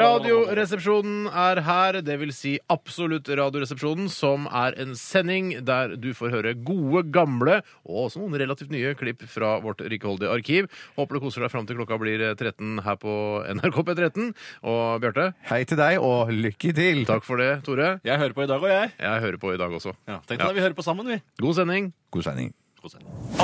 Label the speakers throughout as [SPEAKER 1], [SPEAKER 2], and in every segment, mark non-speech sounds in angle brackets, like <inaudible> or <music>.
[SPEAKER 1] Radioresepsjonen er her, det vil si absolutt Radioresepsjonen, som er en sending der du får høre gode, gamle og også noen relativt nye klipp fra vårt rikeholdige arkiv. Håper du koser deg fram til klokka blir 13 her på NRK P13. Og Bjarte,
[SPEAKER 2] Hei til deg, og lykke til!
[SPEAKER 1] takk for det. Tore,
[SPEAKER 3] Jeg hører på i dag òg, jeg.
[SPEAKER 1] jeg hører på i dag også.
[SPEAKER 3] Ja, Tenk deg da, vi hører på sammen, vi.
[SPEAKER 1] God sending.
[SPEAKER 2] God sending.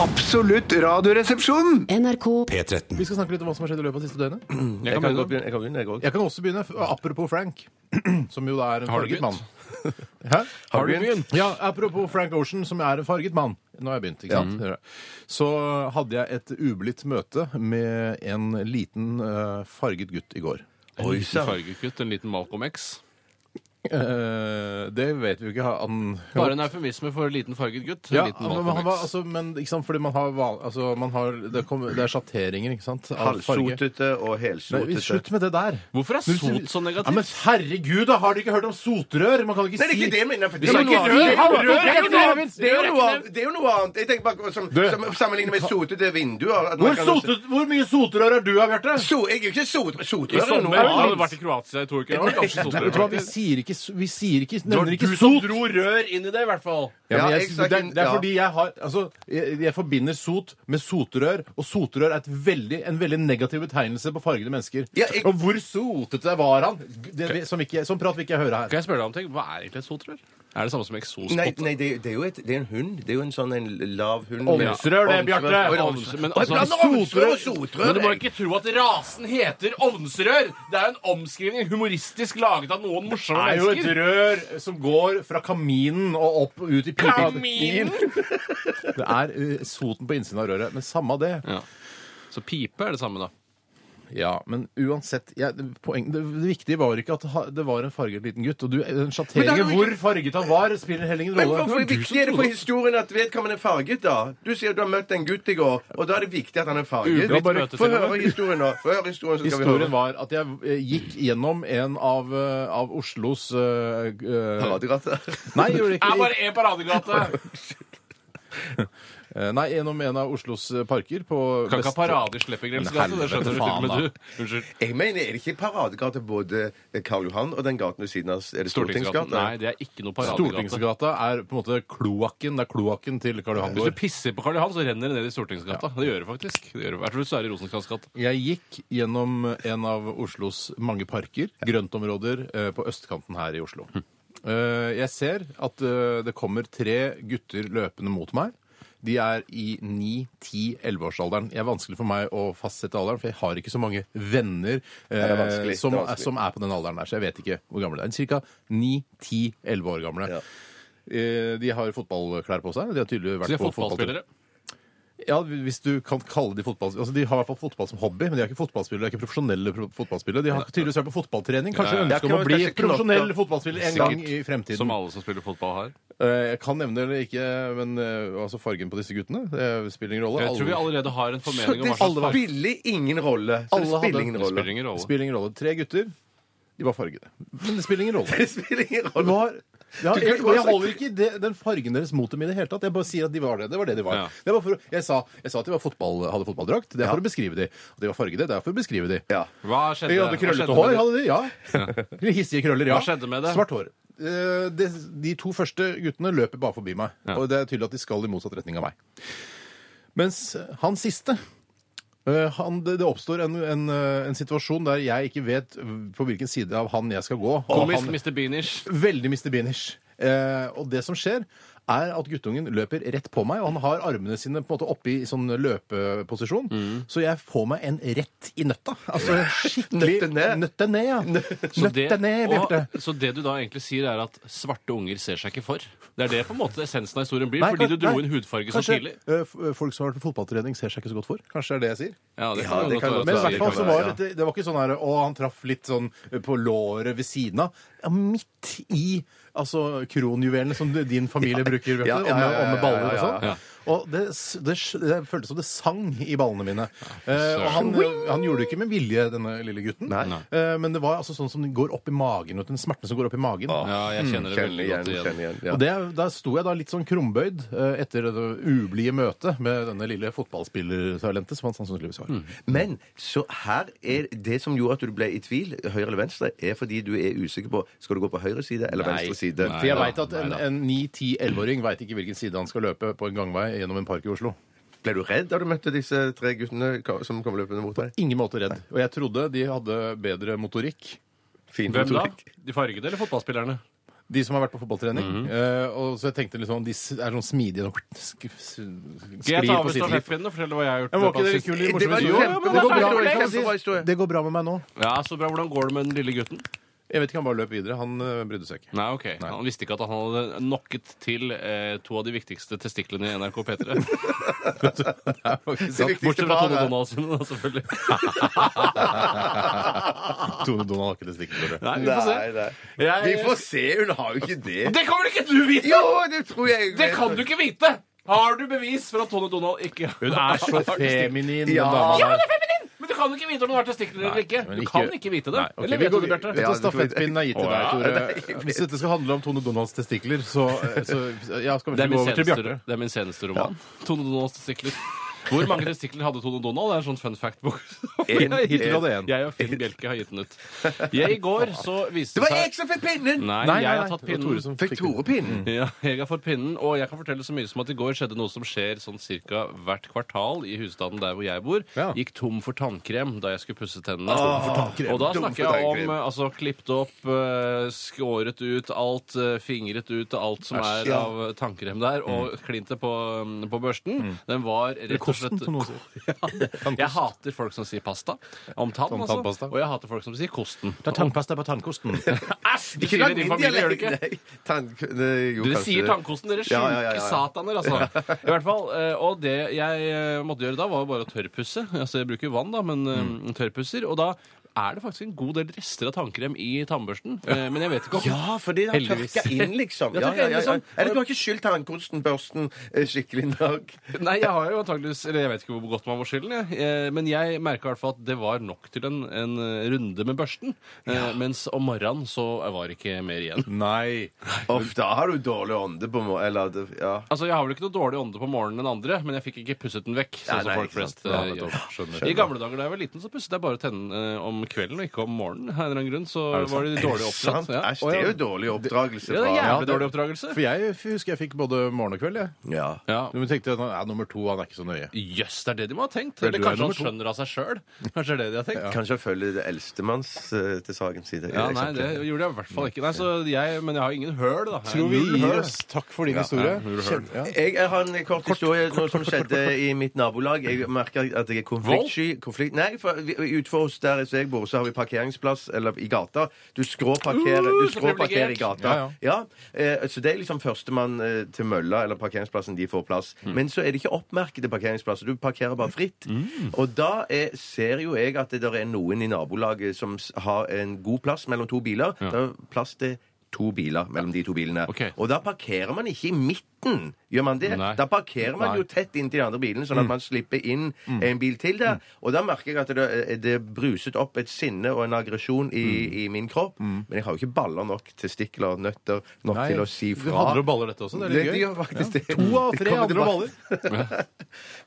[SPEAKER 4] Absolutt radioresepsjon.
[SPEAKER 5] NRK
[SPEAKER 1] Vi skal snakke litt om hva som har skjedd i løpet av de siste døgnet.
[SPEAKER 3] Jeg kan godt begynne, jeg kan begynne, jeg òg.
[SPEAKER 1] Jeg kan også begynne, f- apropos Frank, <clears throat> som jo da er en
[SPEAKER 3] Har du
[SPEAKER 1] farget
[SPEAKER 3] begynt?
[SPEAKER 1] mann. Hæ?
[SPEAKER 3] Har du begynt?
[SPEAKER 1] Ja, apropos Frank Ocean, som er en farget mann. Nå har jeg begynt, ikke sant? Hører jeg. Så hadde jeg et ublidt møte med en liten eh, farget gutt i går.
[SPEAKER 3] En liten fargekutt, en liten Malcolm X.
[SPEAKER 1] Eh, det vet vi jo ikke. Han,
[SPEAKER 3] Bare en eufemisme for liten farget gutt. En
[SPEAKER 1] ja,
[SPEAKER 3] liten
[SPEAKER 1] men, han
[SPEAKER 3] Malcolm
[SPEAKER 1] var,
[SPEAKER 3] X.
[SPEAKER 1] altså, men ikke sant, fordi man har, val- altså, man har det, kommer- det er sjatteringer, ikke sant? av farge.
[SPEAKER 4] Halvsotete og
[SPEAKER 1] Nei, vi-
[SPEAKER 4] helsotete.
[SPEAKER 1] Slutt med det der.
[SPEAKER 3] Hvorfor er sot så
[SPEAKER 1] Ja, men
[SPEAKER 3] negativt?
[SPEAKER 1] herregud, da har dere ikke hørt om sotrør? Man kan ikke
[SPEAKER 4] Nei, det er
[SPEAKER 1] si
[SPEAKER 4] ikke det jeg mener. For det,
[SPEAKER 1] Ja,
[SPEAKER 4] er
[SPEAKER 1] men
[SPEAKER 4] ikke
[SPEAKER 1] hva-
[SPEAKER 4] rør.
[SPEAKER 1] det er ikke rør, det er ikke noe annet.
[SPEAKER 4] Det er jo noe annet. Det er jo noe annet. Jeg tenker bare som, som sammenlignet med sotete vinduer. at man
[SPEAKER 1] Hvor,
[SPEAKER 4] kan-
[SPEAKER 1] sotet, hvor mye soterør er du, Bjarte?
[SPEAKER 4] So, jeg er jo ikke sot, sotrør.
[SPEAKER 3] I
[SPEAKER 4] er noe
[SPEAKER 3] sommer jeg hadde
[SPEAKER 4] annet.
[SPEAKER 3] vært i Kroatia i to uker. Jeg var kanskje sot,
[SPEAKER 1] Vet du hva, Vi
[SPEAKER 3] faktisk.
[SPEAKER 1] sier ikke, vi sier ikke,
[SPEAKER 3] Det
[SPEAKER 1] nevner
[SPEAKER 3] var
[SPEAKER 1] ikke
[SPEAKER 3] du som
[SPEAKER 1] sot.
[SPEAKER 3] dro rør inn i det, i hvert fall.
[SPEAKER 1] Ja, men
[SPEAKER 4] Ja,
[SPEAKER 1] jeg,
[SPEAKER 4] exakt,
[SPEAKER 1] det, er- det er
[SPEAKER 4] ja.
[SPEAKER 1] fordi jeg har Altså, jeg, jeg forbinder sot med soterør, og soterør er et veldig, en veldig negativ betegnelse på fargede mennesker.
[SPEAKER 4] Ja, jeg-
[SPEAKER 1] Og hvor sotete var han? Det, vi- som, ikke, som prat vil ikke jeg høre her.
[SPEAKER 3] Kan jeg spørre deg om ting? Hva er egentlig et sotrør? Er det samme som eksospotte?
[SPEAKER 4] Nei, nei det, det er jo et, det er en hund. Det er jo en sånn en lav hund.
[SPEAKER 1] Ovnsrør, det, Bjarte.
[SPEAKER 4] Ovnsrør,
[SPEAKER 3] Ovnsrør,
[SPEAKER 4] ovnsrør.
[SPEAKER 3] men
[SPEAKER 4] Og jeg
[SPEAKER 3] altså-
[SPEAKER 4] blander ovnsrør og sotrør.
[SPEAKER 3] Men du må
[SPEAKER 4] jeg.
[SPEAKER 3] ikke tro at rasen heter ovnsrør! Det er jo en omskrivning humoristisk laget av noen morsomme
[SPEAKER 1] Det er jo et
[SPEAKER 3] mennesker.
[SPEAKER 1] rør som går fra kaminen og opp og ut i pipa.
[SPEAKER 3] Kaminen!
[SPEAKER 1] <laughs> Det er eh, soten på innsiden av røret. Men samme av det.
[SPEAKER 3] Så pipe er det samme, da.
[SPEAKER 1] Ja, men uansett jeg, det- poeng, det, det viktige var ikke at ha- det var en farget liten gutt. Og du, den
[SPEAKER 4] Men det er
[SPEAKER 1] sjatteringen
[SPEAKER 4] jo
[SPEAKER 1] hvor
[SPEAKER 4] ikke-
[SPEAKER 1] farget han var, spiller heller ingen
[SPEAKER 4] Men
[SPEAKER 1] rolle.
[SPEAKER 4] hvorfor er det viktig er det for historien at vedkommende er farget, da? Du sier du har møtt en gutt i går, og da er det viktig at han er farget.
[SPEAKER 3] Ublidt møte,
[SPEAKER 4] Få
[SPEAKER 3] til og med.
[SPEAKER 4] høre historien nå. Få høre historien, så skal vi
[SPEAKER 1] Historien
[SPEAKER 4] høre.
[SPEAKER 1] var at jeg eh, gikk gjennom en av, eh, av Oslos eh, eh,
[SPEAKER 4] Paradegrattet.
[SPEAKER 1] Nei, jeg gjorde
[SPEAKER 3] Det er
[SPEAKER 1] ikke
[SPEAKER 3] bare én paradegate.
[SPEAKER 1] <laughs> Eh, Nei, gjennom en av Oslos eh, parker på
[SPEAKER 3] Kan ikke ha
[SPEAKER 1] vest-
[SPEAKER 3] parade i Sleppegrems gate. Det skjønner du
[SPEAKER 1] faen,
[SPEAKER 3] ikke med
[SPEAKER 1] da.
[SPEAKER 3] du. Unnskyld.
[SPEAKER 4] Jeg mener, er det ikke paradegate både Karl Johan og den gaten ved siden av? Er det
[SPEAKER 3] Stortingsgaten?
[SPEAKER 4] Stortingsgata?
[SPEAKER 3] Nei, det er ikke noe paradegate.
[SPEAKER 1] Stortingsgata er på en måte kloakken. Det er kloakken til Karl Johan
[SPEAKER 3] Hvis du
[SPEAKER 1] gård.
[SPEAKER 3] pisser på Karl Johan, så renner det ned i Stortingsgata. Det gjør det faktisk. Det gjør det. Jeg tror du Sverre Rosenkrantz gate.
[SPEAKER 1] Jeg gikk gjennom en av Oslos mange parker, grøntområder, eh, på østkanten her i Oslo.
[SPEAKER 4] Hm.
[SPEAKER 1] Eh, Jeg ser at eh, det kommer tre gutter løpende mot meg. De er i 9-10-11-årsalderen. Det er vanskelig for meg å fastsette alderen, for jeg har ikke så mange venner
[SPEAKER 4] er
[SPEAKER 1] eh,
[SPEAKER 4] vanskelig,
[SPEAKER 1] som,
[SPEAKER 4] det er vanskelig.
[SPEAKER 1] som er på den alderen der, så jeg vet ikke hvor gamle de er. Ca. 9-10-11 år gamle.
[SPEAKER 4] Ja.
[SPEAKER 1] Eh, De har fotballklær på seg. De har tydelig
[SPEAKER 3] Så
[SPEAKER 1] vært
[SPEAKER 3] de er
[SPEAKER 1] på fotballtur.
[SPEAKER 3] fotballspillere.
[SPEAKER 1] Ja, hvis du kan kalle de fotballspillere Altså, De har i hvert fall fotball som hobby, men de er ikke fotballspillere, de er ikke profesjonelle pro- fotballspillere. De har tydeligvis vært på fotballtrening. Kanskje
[SPEAKER 3] Ja, ja.
[SPEAKER 1] ønske om
[SPEAKER 4] Ja,
[SPEAKER 1] å bli
[SPEAKER 4] kanskje knotter.
[SPEAKER 1] profesjonell fotballspiller en gang i
[SPEAKER 3] Sikkert.
[SPEAKER 1] fremtiden.
[SPEAKER 3] Som alle som spiller fotball har.
[SPEAKER 1] Eh, Jeg kan nevne det eller ikke, men eh, altså fargen på disse guttene det spiller ingen rolle.
[SPEAKER 3] Jeg tror vi allerede har en
[SPEAKER 4] Så
[SPEAKER 3] formening om hva slags
[SPEAKER 4] det spiller ingen rolle. Så det
[SPEAKER 1] Alle hadde-
[SPEAKER 4] spiller ingen
[SPEAKER 3] Det spiller
[SPEAKER 4] rolle.
[SPEAKER 3] ingen rolle.
[SPEAKER 1] spiller ingen rolle. Tre gutter. De var fargede. Men det spiller ingen rolle.
[SPEAKER 4] <laughs> Det spiller ingen
[SPEAKER 1] Det
[SPEAKER 4] rolle.
[SPEAKER 1] var, ja,
[SPEAKER 4] Du kan
[SPEAKER 1] jeg,
[SPEAKER 4] ikke bare
[SPEAKER 1] jeg
[SPEAKER 4] si-
[SPEAKER 1] holder ikke det, den fargen deres mot dem i det hele tatt. Jeg bare sier at de var det. Det var det de var.
[SPEAKER 3] Ja.
[SPEAKER 1] Det var for, å- jeg, sa, jeg sa at de var fotball, hadde fotballdrakt. Det er for å beskrive de. Og de var fargede. Det er for å beskrive de.
[SPEAKER 4] Ja.
[SPEAKER 3] Hva skjedde?
[SPEAKER 1] Jeg
[SPEAKER 3] Hva
[SPEAKER 1] hadde
[SPEAKER 3] skjedde
[SPEAKER 1] krøllete
[SPEAKER 3] med
[SPEAKER 1] hår,
[SPEAKER 3] det?
[SPEAKER 1] hadde de, ja. Litt Hissige krøller, ja.
[SPEAKER 3] Hva skjedde med det?
[SPEAKER 1] Svart hår. Eh, De, de to første guttene løper bare forbi meg,
[SPEAKER 3] Ja.
[SPEAKER 1] og det er tydelig at de skal i motsatt retning av meg. Mens han siste eh, han, det, det oppstår en, en, eh, en situasjon der jeg ikke vet på hvilken side av han jeg skal gå. <laughs> Og
[SPEAKER 3] Komisk
[SPEAKER 1] han,
[SPEAKER 3] Mr. Beanish.
[SPEAKER 1] veldig Mr. Beanish. Eh, og det som skjer, er at guttungen løper rett på meg, og han har armene sine på en måte oppe i sånn løpeposisjon.
[SPEAKER 3] Mm.
[SPEAKER 1] Så jeg får meg en rett i nøtta. Altså skikkelig
[SPEAKER 4] Nøtte ned.
[SPEAKER 1] Nøtte ned, ja.
[SPEAKER 3] <laughs> Så det,
[SPEAKER 1] Nøtte ned, Bjarte.
[SPEAKER 3] og, så det du da egentlig sier, er at svarte unger ser seg ikke for? Det er det på en måte essensen av historien blir,
[SPEAKER 1] Nei,
[SPEAKER 3] fordi
[SPEAKER 1] kan-
[SPEAKER 3] du dro
[SPEAKER 1] nei,
[SPEAKER 3] inn hudfarge så
[SPEAKER 1] kanskje,
[SPEAKER 3] tidlig?
[SPEAKER 1] eh, f- eh, folk som har vært på fotballtrening,
[SPEAKER 6] <laughs>
[SPEAKER 1] ser seg ikke så godt for. Kanskje det er det jeg sier.
[SPEAKER 3] Ja, det
[SPEAKER 4] Ja,
[SPEAKER 3] kan
[SPEAKER 4] det
[SPEAKER 3] jo
[SPEAKER 4] kan
[SPEAKER 3] godt
[SPEAKER 4] godt
[SPEAKER 1] Men i
[SPEAKER 4] være,
[SPEAKER 1] hvert
[SPEAKER 3] være.
[SPEAKER 1] fall så
[SPEAKER 4] kan
[SPEAKER 1] var
[SPEAKER 4] være,
[SPEAKER 1] det, det var ikke sånn her Å, han traff litt sånn eh, på låret ved siden av. Ja, midt i altså kronjuvelene som du- din familie bruker, vet du.
[SPEAKER 4] ja,
[SPEAKER 1] og
[SPEAKER 4] <laughs> ja,
[SPEAKER 1] med-
[SPEAKER 4] ja,
[SPEAKER 1] Og med
[SPEAKER 4] ja, ja,
[SPEAKER 1] baller og
[SPEAKER 4] ja,
[SPEAKER 1] sånn.
[SPEAKER 3] ja.
[SPEAKER 1] Og det, s- det, s- det føltes som det sang i ballene mine. Eh, og han, han gjorde det ikke med vilje, denne lille gutten. Eh, men det var altså sånn som den går opp i magen. Vet du, den smerten som går opp i magen.
[SPEAKER 3] Ja, jeg kjenner det veldig
[SPEAKER 7] igjen,
[SPEAKER 3] godt igjen.
[SPEAKER 7] mm. kjenner igjen. Ja.
[SPEAKER 1] Og det, Da sto jeg da litt sånn krumbøyd eh, etter det ublide møtet med denne lille fotballspillertalentet som han sannsynligvis var.
[SPEAKER 7] Mm. Men så her er det som gjorde at du ble i tvil, høyre eller venstre, er fordi du er usikker på skal du gå på høyre side eller
[SPEAKER 3] Nei.
[SPEAKER 7] venstre side.
[SPEAKER 3] Nei.
[SPEAKER 1] For jeg
[SPEAKER 3] da,
[SPEAKER 1] veit at en,
[SPEAKER 3] nei da.
[SPEAKER 1] en 9-10-11-åring veit ikke hvilken side han skal løpe på en gangvei gjennom en park i Oslo.
[SPEAKER 7] Ble du redd da du møtte disse tre guttene ka- som kom løpende mot deg?
[SPEAKER 1] Ingen måte redd. Og jeg trodde de hadde bedre motorikk.
[SPEAKER 7] Fin
[SPEAKER 3] Hvem da?
[SPEAKER 7] motorikk.
[SPEAKER 3] De fargede eller fotballspillerne?
[SPEAKER 1] De som har vært på fotballtrening.
[SPEAKER 3] Mhm.
[SPEAKER 1] Eh, og så jeg tenkte liksom, de s- er sånn smidige og sk sk-
[SPEAKER 3] Greit, ta
[SPEAKER 1] sklir på
[SPEAKER 3] over
[SPEAKER 1] siden.
[SPEAKER 3] stafettpinnen og fortell hva jeg har gjort.
[SPEAKER 1] Men var
[SPEAKER 3] i løpet av
[SPEAKER 1] ikke det
[SPEAKER 3] siste-
[SPEAKER 1] kul,
[SPEAKER 7] Det var
[SPEAKER 1] morsom historie?
[SPEAKER 7] en kjempe-
[SPEAKER 1] Jo, men
[SPEAKER 7] det
[SPEAKER 1] det
[SPEAKER 7] var
[SPEAKER 1] går bra.
[SPEAKER 7] en kjempe-
[SPEAKER 1] Jeg kan si-
[SPEAKER 7] kjempebra historie.
[SPEAKER 1] Det går bra med meg nå.
[SPEAKER 3] Ja, så bra. Hvordan går det med den lille gutten?
[SPEAKER 1] Jeg vet ikke, han bare løp videre. Han eh, brydde seg ikke.
[SPEAKER 3] Nei, ok. Han visste ikke at han hadde nokket til eh, to av de viktigste testiklene i NRK
[SPEAKER 7] <laughs>
[SPEAKER 3] P3.
[SPEAKER 7] Det viktigste
[SPEAKER 3] Bortsett fra Tone
[SPEAKER 7] paret.
[SPEAKER 3] Donald sine, da, selvfølgelig. <laughs>
[SPEAKER 1] Tone Donald har ikke det stikkordet.
[SPEAKER 3] Nei, vi får se.
[SPEAKER 7] Nei, nei.
[SPEAKER 3] Jeg-
[SPEAKER 7] Vi får se, hun har jo ikke det.
[SPEAKER 3] Det kommer ikke du vite!
[SPEAKER 7] Jo, det tror jeg
[SPEAKER 3] Det kan du ikke vite! Har du bevis for at Tone Donald ikke
[SPEAKER 1] Hun
[SPEAKER 3] <laughs>
[SPEAKER 1] er så feminin, den
[SPEAKER 7] Ja.
[SPEAKER 1] dama
[SPEAKER 3] Ja,
[SPEAKER 1] der.
[SPEAKER 3] hun er feminin! Men du kan jo ikke vite om hun har testikler eller ikke.
[SPEAKER 1] men
[SPEAKER 3] Du
[SPEAKER 1] ikke-
[SPEAKER 3] kan ikke vite det.
[SPEAKER 1] Nei, ok,
[SPEAKER 3] Eller
[SPEAKER 1] vi
[SPEAKER 3] vet du,
[SPEAKER 1] går videre.
[SPEAKER 3] Bjarte?
[SPEAKER 1] Dette
[SPEAKER 7] Ja, det tror jeg-
[SPEAKER 1] stafettpinnen er gitt til
[SPEAKER 3] <laughs>
[SPEAKER 7] Å, ja,
[SPEAKER 1] deg,
[SPEAKER 7] <laughs> det er
[SPEAKER 1] Tore. Hvis dette skal handle om Tone Donalds testikler, så, eh, så ja, skal vi
[SPEAKER 3] Det er,
[SPEAKER 1] ikke gå
[SPEAKER 3] min
[SPEAKER 1] over til
[SPEAKER 3] seneste,
[SPEAKER 1] Bjarte.
[SPEAKER 3] det er min seneste roman. Tone Donalds testikler. Hvor mange testikler hadde Tone Donald? Det er en sånn fun <laughs> fact-bok.
[SPEAKER 7] En,
[SPEAKER 1] Hittil hadde en.
[SPEAKER 3] Jeg og Finn Bjelke har gitt den ut. Jeg, I går så viste
[SPEAKER 7] Det var
[SPEAKER 3] seg
[SPEAKER 7] jeg som fikk pinnen!
[SPEAKER 3] Nei,
[SPEAKER 1] Nei, nei,
[SPEAKER 3] jeg har
[SPEAKER 1] nei,
[SPEAKER 3] tatt
[SPEAKER 1] det var Tore
[SPEAKER 3] pinnen.
[SPEAKER 1] som
[SPEAKER 7] Fikk Tore pinnen?
[SPEAKER 3] Ja, jeg har fått pinnen, og jeg kan fortelle så mye som at i går skjedde noe som skjer sånn cirka hvert kvartal i husstanden der hvor jeg bor.
[SPEAKER 1] Ja.
[SPEAKER 3] Gikk tom for tannkrem da jeg skulle pusse tennene.
[SPEAKER 1] tannkrem.
[SPEAKER 3] og da
[SPEAKER 7] Tom for
[SPEAKER 3] snakker jeg om
[SPEAKER 7] tannkrem.
[SPEAKER 3] eh, altså klippet opp, eh, skåret ut alt, eh, fingret ut alt som er
[SPEAKER 7] ja.
[SPEAKER 3] av eh, tannkrem der, og klinte på, mm, på børsten. Den var rett og
[SPEAKER 1] kosten,
[SPEAKER 3] slett
[SPEAKER 1] som noen sier.
[SPEAKER 3] <laughs> ja, Jeg hater folk som sier pasta om tann,
[SPEAKER 1] Om
[SPEAKER 3] altså.
[SPEAKER 1] tannpasta.
[SPEAKER 3] Og jeg hater folk som sier kosten.
[SPEAKER 1] Det er tannpasta på tannkosten.
[SPEAKER 3] <laughs> Æsj! Du sier det i din familie, gjør du ikke? Dere sier tannkosten, dere sjuke
[SPEAKER 7] Ja, ja, ja, <laughs> ja.
[SPEAKER 3] sataner, altså. I hvert fall, eh, Og det jeg eh, måtte gjøre da, var jo bare å tørrpusse. <laughs> Altså, jeg bruker vann, da, men
[SPEAKER 7] Mm.
[SPEAKER 3] eh, tørrpusser. Og da er det faktisk en god del rester av tannkrem i tannbørsten. Eh, Men jeg vet ikke om
[SPEAKER 7] Ja, fordi det har
[SPEAKER 3] Heldigvis.
[SPEAKER 7] tørka inn, liksom.
[SPEAKER 3] Det har
[SPEAKER 7] Ja,
[SPEAKER 3] tørket
[SPEAKER 7] ja,
[SPEAKER 3] inn,
[SPEAKER 7] ja, ja.
[SPEAKER 3] liksom.
[SPEAKER 7] Eller du har ikke skylt tannkosten, børsten, eh, skikkelig nok.
[SPEAKER 3] Nei, jeg har jo antageligvis Eller jeg vet ikke hvor godt man må skylde den, jeg. Eh, Men jeg merka i hvert fall at det var nok til en, en eh, runde med børsten. Eh, Mens om morgenen så var det ikke mer igjen.
[SPEAKER 1] Nei.
[SPEAKER 7] Uff, da har du dårlig ånde på må... Eller det- ja.
[SPEAKER 3] Altså, Jeg har vel ikke noe dårlig ånde på morgenen enn andre, men jeg fikk ikke pusset den vekk. sånn
[SPEAKER 7] Nei, nei,
[SPEAKER 3] som folk
[SPEAKER 7] ikke sant.
[SPEAKER 3] flest
[SPEAKER 7] Ja,
[SPEAKER 3] eh,
[SPEAKER 7] nettopp.
[SPEAKER 3] gjør. I gamle dager da jeg var liten, så pusset jeg bare tennene eh, om kvelden og ikke om morgenen. Av en eller annen grunn, så var de
[SPEAKER 1] <laughs>
[SPEAKER 3] dårlig oppdratt.
[SPEAKER 7] Sant?
[SPEAKER 3] Ja.
[SPEAKER 7] Æsj, det er jo dårlig oppdragelse.
[SPEAKER 3] Ja, det er
[SPEAKER 7] fra-
[SPEAKER 3] jævlig
[SPEAKER 1] det-
[SPEAKER 3] dårlig oppdragelse.
[SPEAKER 1] For jeg f- husker jeg fikk både morgen og kveld, jeg.
[SPEAKER 7] Ja.
[SPEAKER 3] Ja.
[SPEAKER 1] Men tenkte jeg, ja, nummer to, han er ikke så nøye.
[SPEAKER 3] Jøss, det er det de må ha tenkt.
[SPEAKER 1] Vel,
[SPEAKER 3] Eller
[SPEAKER 1] du er
[SPEAKER 3] kanskje
[SPEAKER 1] nummer
[SPEAKER 3] han
[SPEAKER 1] to.
[SPEAKER 3] skjønner av seg
[SPEAKER 1] <laughs>
[SPEAKER 3] sjøl. Kanskje det er det de har tenkt.
[SPEAKER 7] Kanskje følge det eldstemanns eh, til sakens side.
[SPEAKER 3] Ja, nei, det gjorde jeg i hvert fall ikke. Nei, så jeg, Men jeg har ingen høl, da. Jeg
[SPEAKER 1] Tror vi
[SPEAKER 3] null høl.
[SPEAKER 1] gir oss. Takk for din historie. Kjempe- ja.
[SPEAKER 7] Jeg, jeg har en kort historie noe som skjedde i mitt nabolag. Jeg merker at jeg er konfliktsky. Konflikt, nei, for vi- utenfor oss der jeg bor, så har vi parkeringsplass eller i gata. Du skråparkerer
[SPEAKER 3] Uh,
[SPEAKER 7] du
[SPEAKER 3] så
[SPEAKER 7] skråparkerer i
[SPEAKER 3] privilegiert.
[SPEAKER 7] gata.
[SPEAKER 1] Ja,
[SPEAKER 7] Ja, eh, så det er liksom førstemann eh, til mølla eller parkeringsplassen de får plass.
[SPEAKER 3] Mm.
[SPEAKER 7] Men så er det ikke oppmerkede parkeringsplasser. Du parkerer bare fritt. Og da er, ser jo jeg at det der er noen i nabolaget som s- har en god plass mellom to biler. Det er plass til to biler mellom de to bilene.
[SPEAKER 3] Ok.
[SPEAKER 7] Og da parkerer man ikke i midten. Gjør man det?
[SPEAKER 3] Nei.
[SPEAKER 7] Da parkerer man jo tett inntil de andre bilene,
[SPEAKER 1] Mm.
[SPEAKER 7] sånn at man slipper inn en bil til der. Og da merker jeg at det, det bruset opp et sinne og en aggresjon i,
[SPEAKER 1] Mm.
[SPEAKER 7] i min kropp. Men jeg har jo ikke baller nok, testikler og nøtter nok
[SPEAKER 1] Nei,
[SPEAKER 7] til å si
[SPEAKER 1] Det
[SPEAKER 7] fra.
[SPEAKER 1] handler om baller, dette også. Det er
[SPEAKER 7] Det,
[SPEAKER 1] litt
[SPEAKER 7] det gjør
[SPEAKER 1] gøy.
[SPEAKER 7] faktisk det.
[SPEAKER 1] To av
[SPEAKER 7] Det
[SPEAKER 1] tre
[SPEAKER 7] kommer
[SPEAKER 1] handler om
[SPEAKER 7] tilbake.
[SPEAKER 1] baller.
[SPEAKER 7] <laughs>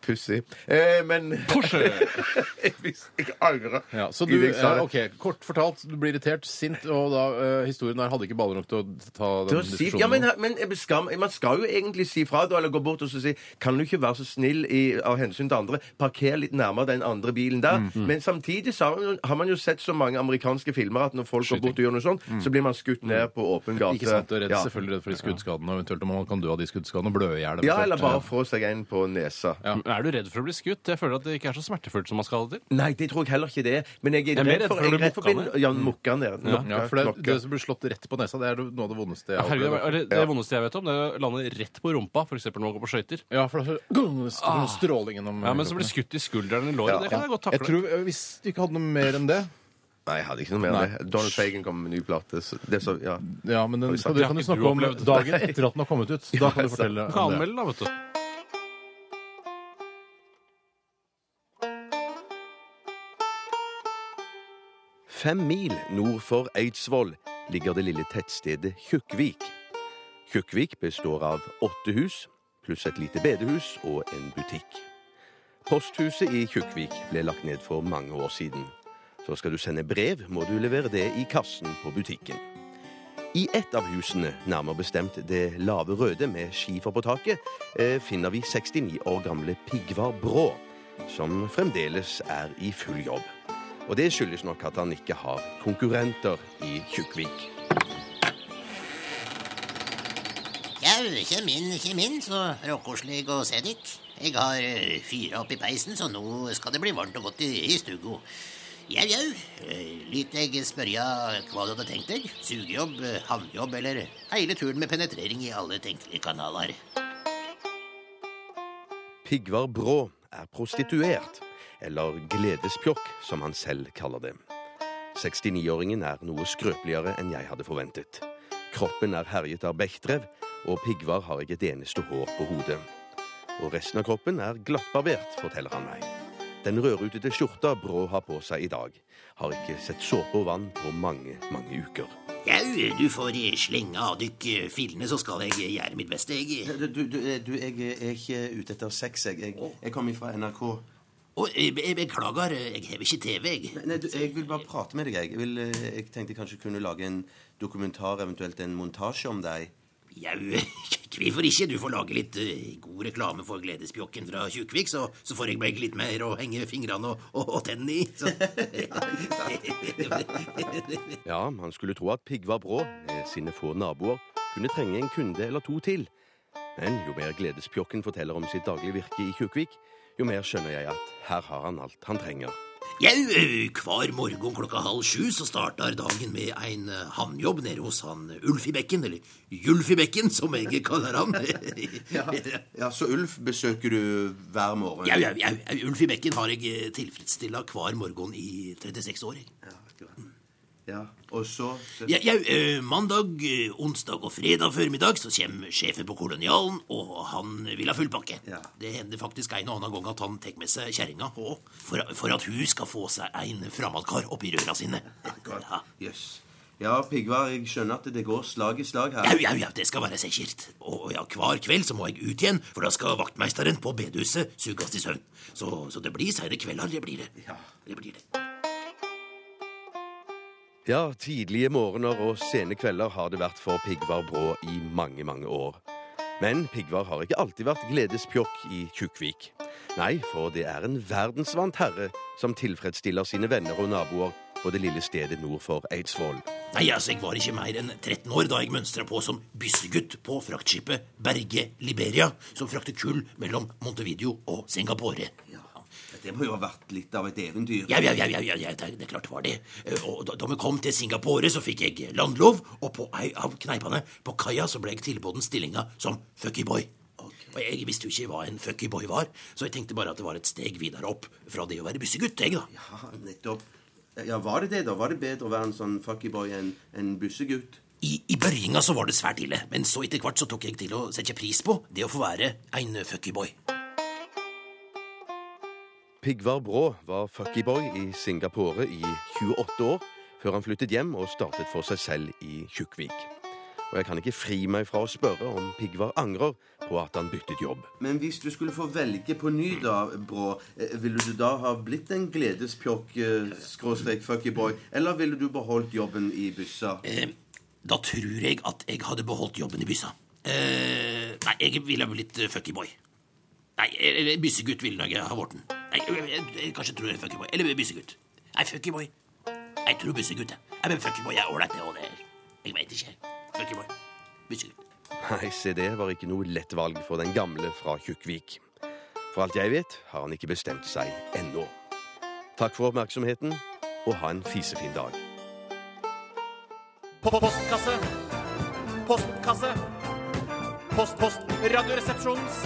[SPEAKER 7] Pussig. Eh, men <laughs>
[SPEAKER 3] Porsche!
[SPEAKER 7] jeg, jeg angrer.
[SPEAKER 1] Ja, så
[SPEAKER 7] I
[SPEAKER 1] du,
[SPEAKER 7] det jeg sa.
[SPEAKER 1] eh, ok, Kort fortalt, du blir irritert, sint, og da eh, historien her hadde ikke baller nok til å ta den
[SPEAKER 7] Det å si, ja,
[SPEAKER 1] diskusjonen.
[SPEAKER 7] men,
[SPEAKER 1] nå.
[SPEAKER 7] men skam, man skal jo egentlig si fra da, eller gå bort og så si Kan du ikke være så snill i, av hensyn til andre, parker litt nærmere den andre bilen der?
[SPEAKER 1] Mm,
[SPEAKER 7] Men samtidig så har, man, jo- har man jo sett så mange amerikanske filmer at når folk går bort og gjør noe sånt, så blir man skutt ned på åpen gate.
[SPEAKER 1] Mm. Ikke sant, og redd,
[SPEAKER 7] ja.
[SPEAKER 1] Selvfølgelig redd for de skuddskadene, og eventuelt om man kan dø av de skuddskadene og blø i hjel.
[SPEAKER 7] ja,
[SPEAKER 1] eventuelt.
[SPEAKER 7] eller bare få seg en på nesa.
[SPEAKER 3] Er du redd for å bli skutt? Jeg føler at det ikke er så smertefullt som man skal ha det til.
[SPEAKER 7] Nei, det tror jeg heller ikke det er. Men jeg er
[SPEAKER 3] er mer
[SPEAKER 7] redd
[SPEAKER 3] redd
[SPEAKER 7] for
[SPEAKER 3] for å
[SPEAKER 7] jeg er
[SPEAKER 3] bli
[SPEAKER 7] redd for å
[SPEAKER 3] mokka
[SPEAKER 7] bli- Ja, mokka ned.
[SPEAKER 1] Ja,
[SPEAKER 7] Mokka,
[SPEAKER 1] for det,
[SPEAKER 7] mokka.
[SPEAKER 1] det som blir slått rett på nesa, det er noe av det vondeste jeg har
[SPEAKER 3] Herregud,
[SPEAKER 1] opplevd.
[SPEAKER 3] eller Det vondeste jeg vet om, det er å lande rett på rumpa, f.eks. når man går på skøyter.
[SPEAKER 1] Ja, for det er så- <clears throat> strål- stråling gjennom
[SPEAKER 3] Ah. Ja, men så blir det skutt i skulderen eller låret. Det kan jeg godt takle.
[SPEAKER 1] Jeg tror, eh, Hvis du ikke hadde noe mer enn det
[SPEAKER 7] Nei, jeg hadde ikke noe mer av det. Donald Fagan kom med en ny plate. Så det så, ja.
[SPEAKER 1] Ja, men den,
[SPEAKER 7] Oi, sant.
[SPEAKER 1] det kan du
[SPEAKER 3] Det har
[SPEAKER 1] snakke om
[SPEAKER 7] <laughs>
[SPEAKER 3] ikke du opplevd. <laughs>
[SPEAKER 1] dagen etter at den har kommet ut. Da kan du fortelle
[SPEAKER 3] Du kan
[SPEAKER 1] om det.
[SPEAKER 3] anmelde, da, vet du.
[SPEAKER 4] Fem mil nord for Eidsvoll ligger det lille tettstedet Tjukkvik. Tjukkvik består av åtte hus, pluss et lite bedehus og en butikk. Posthuset i Tjukkvik ble lagt ned for mange år siden. Så skal du sende brev, må du levere det i kassen på butikken. I ett av husene, nærmere bestemt det lave røde med skifer på taket, eh, finner vi 69 år gamle Pigvar Brå, som fremdeles er i full jobb. Og det skyldes nok at han ikke har konkurrenter i Tjukkvik.
[SPEAKER 8] Jau, kjem inn, kjem inn, så råkoselig å se dykk. Jeg har eh, fyra opp i peisen, så nå skal det bli varmt og godt i, i stugo. Jau, jau, eh, lyt jeg spørja hva du hadde tenkt deg. Sugejobb, eh, havnejobb eller hele turen med penetrering i alle tenkelige kanaler.
[SPEAKER 4] Pigvar Brå er prostituert, eller gledespjokk, som han selv kaller det. 69-åringen er noe skrøpeligere enn jeg hadde forventet. Kroppen er herjet av bekkdrev, og Pigvar har ikke et eneste hår på hodet. Og resten av kroppen er glattbarbert, forteller han meg. Den rødrutete skjorta Brå har på seg i dag, har ikke sett såpe og vann på mange, mange uker.
[SPEAKER 8] Jau, du får eh, slenge av dykk eh, fillene, så skal jeg eh, gjøre mitt beste, jeg.
[SPEAKER 9] Du, du, eh, du, jeg er ikke ute etter sex, jeg. Jeg, jeg kommer fra NRK.
[SPEAKER 8] Og eh, be- beklager, eh, jeg har ikke TV, jeg.
[SPEAKER 9] Nei, du, jeg vil bare prate med deg, jeg. Jeg, vil, eh, jeg tenkte jeg kanskje kunne lage en dokumentar, eventuelt en montasje om deg.
[SPEAKER 8] Jau, hvorfor ikke? Du får lage litt eh, god reklame for gledespjokken fra Tjukkvik, så, så får jeg begge litt mer å henge fingrene og, og, og tennene i. Så. <laughs>
[SPEAKER 4] Ja, man skulle tro at Pigvar Brå, med sine få naboer, kunne trenge en kunde eller to til. Men jo mer gledespjokken forteller om sitt daglige virke i Tjukkvik, jo mer skjønner jeg at her har han alt han trenger.
[SPEAKER 8] Jau, eh, hver morgen klokka halv sju så starter dagen med en eh, havnjobb nede hos han Ulf i Bekken, eller Julf i Bekken, som jeg kaller han.
[SPEAKER 9] <laughs> Ja, Så Ulf besøker du hver morgen?
[SPEAKER 8] Jau, jau, jau, Ulf i Bekken har jeg eh, tilfredsstilla hver morgen i 36 år. jeg.
[SPEAKER 9] Ja, Og så så-
[SPEAKER 8] Ja, ja, eh, mandag, eh, onsdag og fredag formiddag så kommer sjefen på kolonialen, og han vil ha full pakke.
[SPEAKER 9] Ja.
[SPEAKER 8] Det hender faktisk en og annen gang at han tar med seg kjerringa òg, for, for at hun skal få seg en fremmedkar oppi røra sine. Ja.
[SPEAKER 9] Jøss. Ja, Pigvar, jeg skjønner at det går slag i slag her.
[SPEAKER 8] Jau, jau, jau, det skal være sikkert. Og og ja, hver kveld så må jeg ut igjen, for da skal vaktmeisteren på bedehuset suges i søvn. Så, så det blir seine kvelder, det blir det. Det blir det.
[SPEAKER 4] Ja, tidlige morgener og sene kvelder har det vært for Pigvar Brå i mange, mange år. Men Pigvar har ikke alltid vært gledespjokk i Tjukkvik. Nei, for det er en verdensvant herre som tilfredsstiller sine venner og naboer på det lille stedet nord for Eidsvoll.
[SPEAKER 8] Nei, altså, jeg var ikke mer enn 13 år da jeg mønstra på som byssegutt på fraktskipet Berge Liberia, som frakter kull mellom Montevideo og Singapore. Ja,
[SPEAKER 9] Det må jo ha vært litt av et eventyr.
[SPEAKER 8] ja, ja, ja, ja, ja, det, det er klart var det. Eh, Og da, da vi kom til Singapore, så fikk jeg landlov, og på ei av kneipene på kaia så ble jeg tilbudt stillinga som fuckyboy. Og jeg visste jo ikke hva en fuckyboy var, så jeg tenkte bare at det var et steg videre opp fra det å være byssegutt, jeg, da.
[SPEAKER 9] Ja, nettopp. Ja, Var det det, da? Var det bedre å være en sånn fuckyboy enn en bussegutt?
[SPEAKER 8] I, I børjinga så var det svært ille, men så etter hvert så tok jeg til å sette pris på det å få være en fuckyboy.
[SPEAKER 4] Pigvar Brå var fuckyboy i Singapore i 28 år, før han flyttet hjem og startet for seg selv i Tjukkvik. Og jeg kan ikke fri meg fra å spørre om Pigvar angrer på at han byttet jobb.
[SPEAKER 9] Men hvis du skulle få velge på ny, da, Brå, eh, ville du da ha blitt en gledespjokk, eh, skråstrek fuckyboy, eller ville du beholdt jobben i byssa?
[SPEAKER 8] Eh, da tror jeg at jeg hadde beholdt jobben i byssa. Eh, nei, jeg ville ha blitt eh, fuckyboy. Nei, eller byssegutt ville jeg ha blitt. Nei, jeg, jeg, jeg kanskje tror jeg er fuckyboy. Eller byssegutt. Nei, fuckyboy. Jeg tror byssegutt, jeg. Nei, men fuckyboy er ålreit, det og det. Jeg veit ikke. Fuckyboy. Byssegutt.
[SPEAKER 4] Nei, se det var ikke noe lett valg for den gamle fra Tjukkvik. For alt jeg vet, har han ikke bestemt seg ennå. Takk for oppmerksomheten, og ha en fisefin dag.
[SPEAKER 5] Postkasse. Postkasse. Post, post. Radioresepsjonens.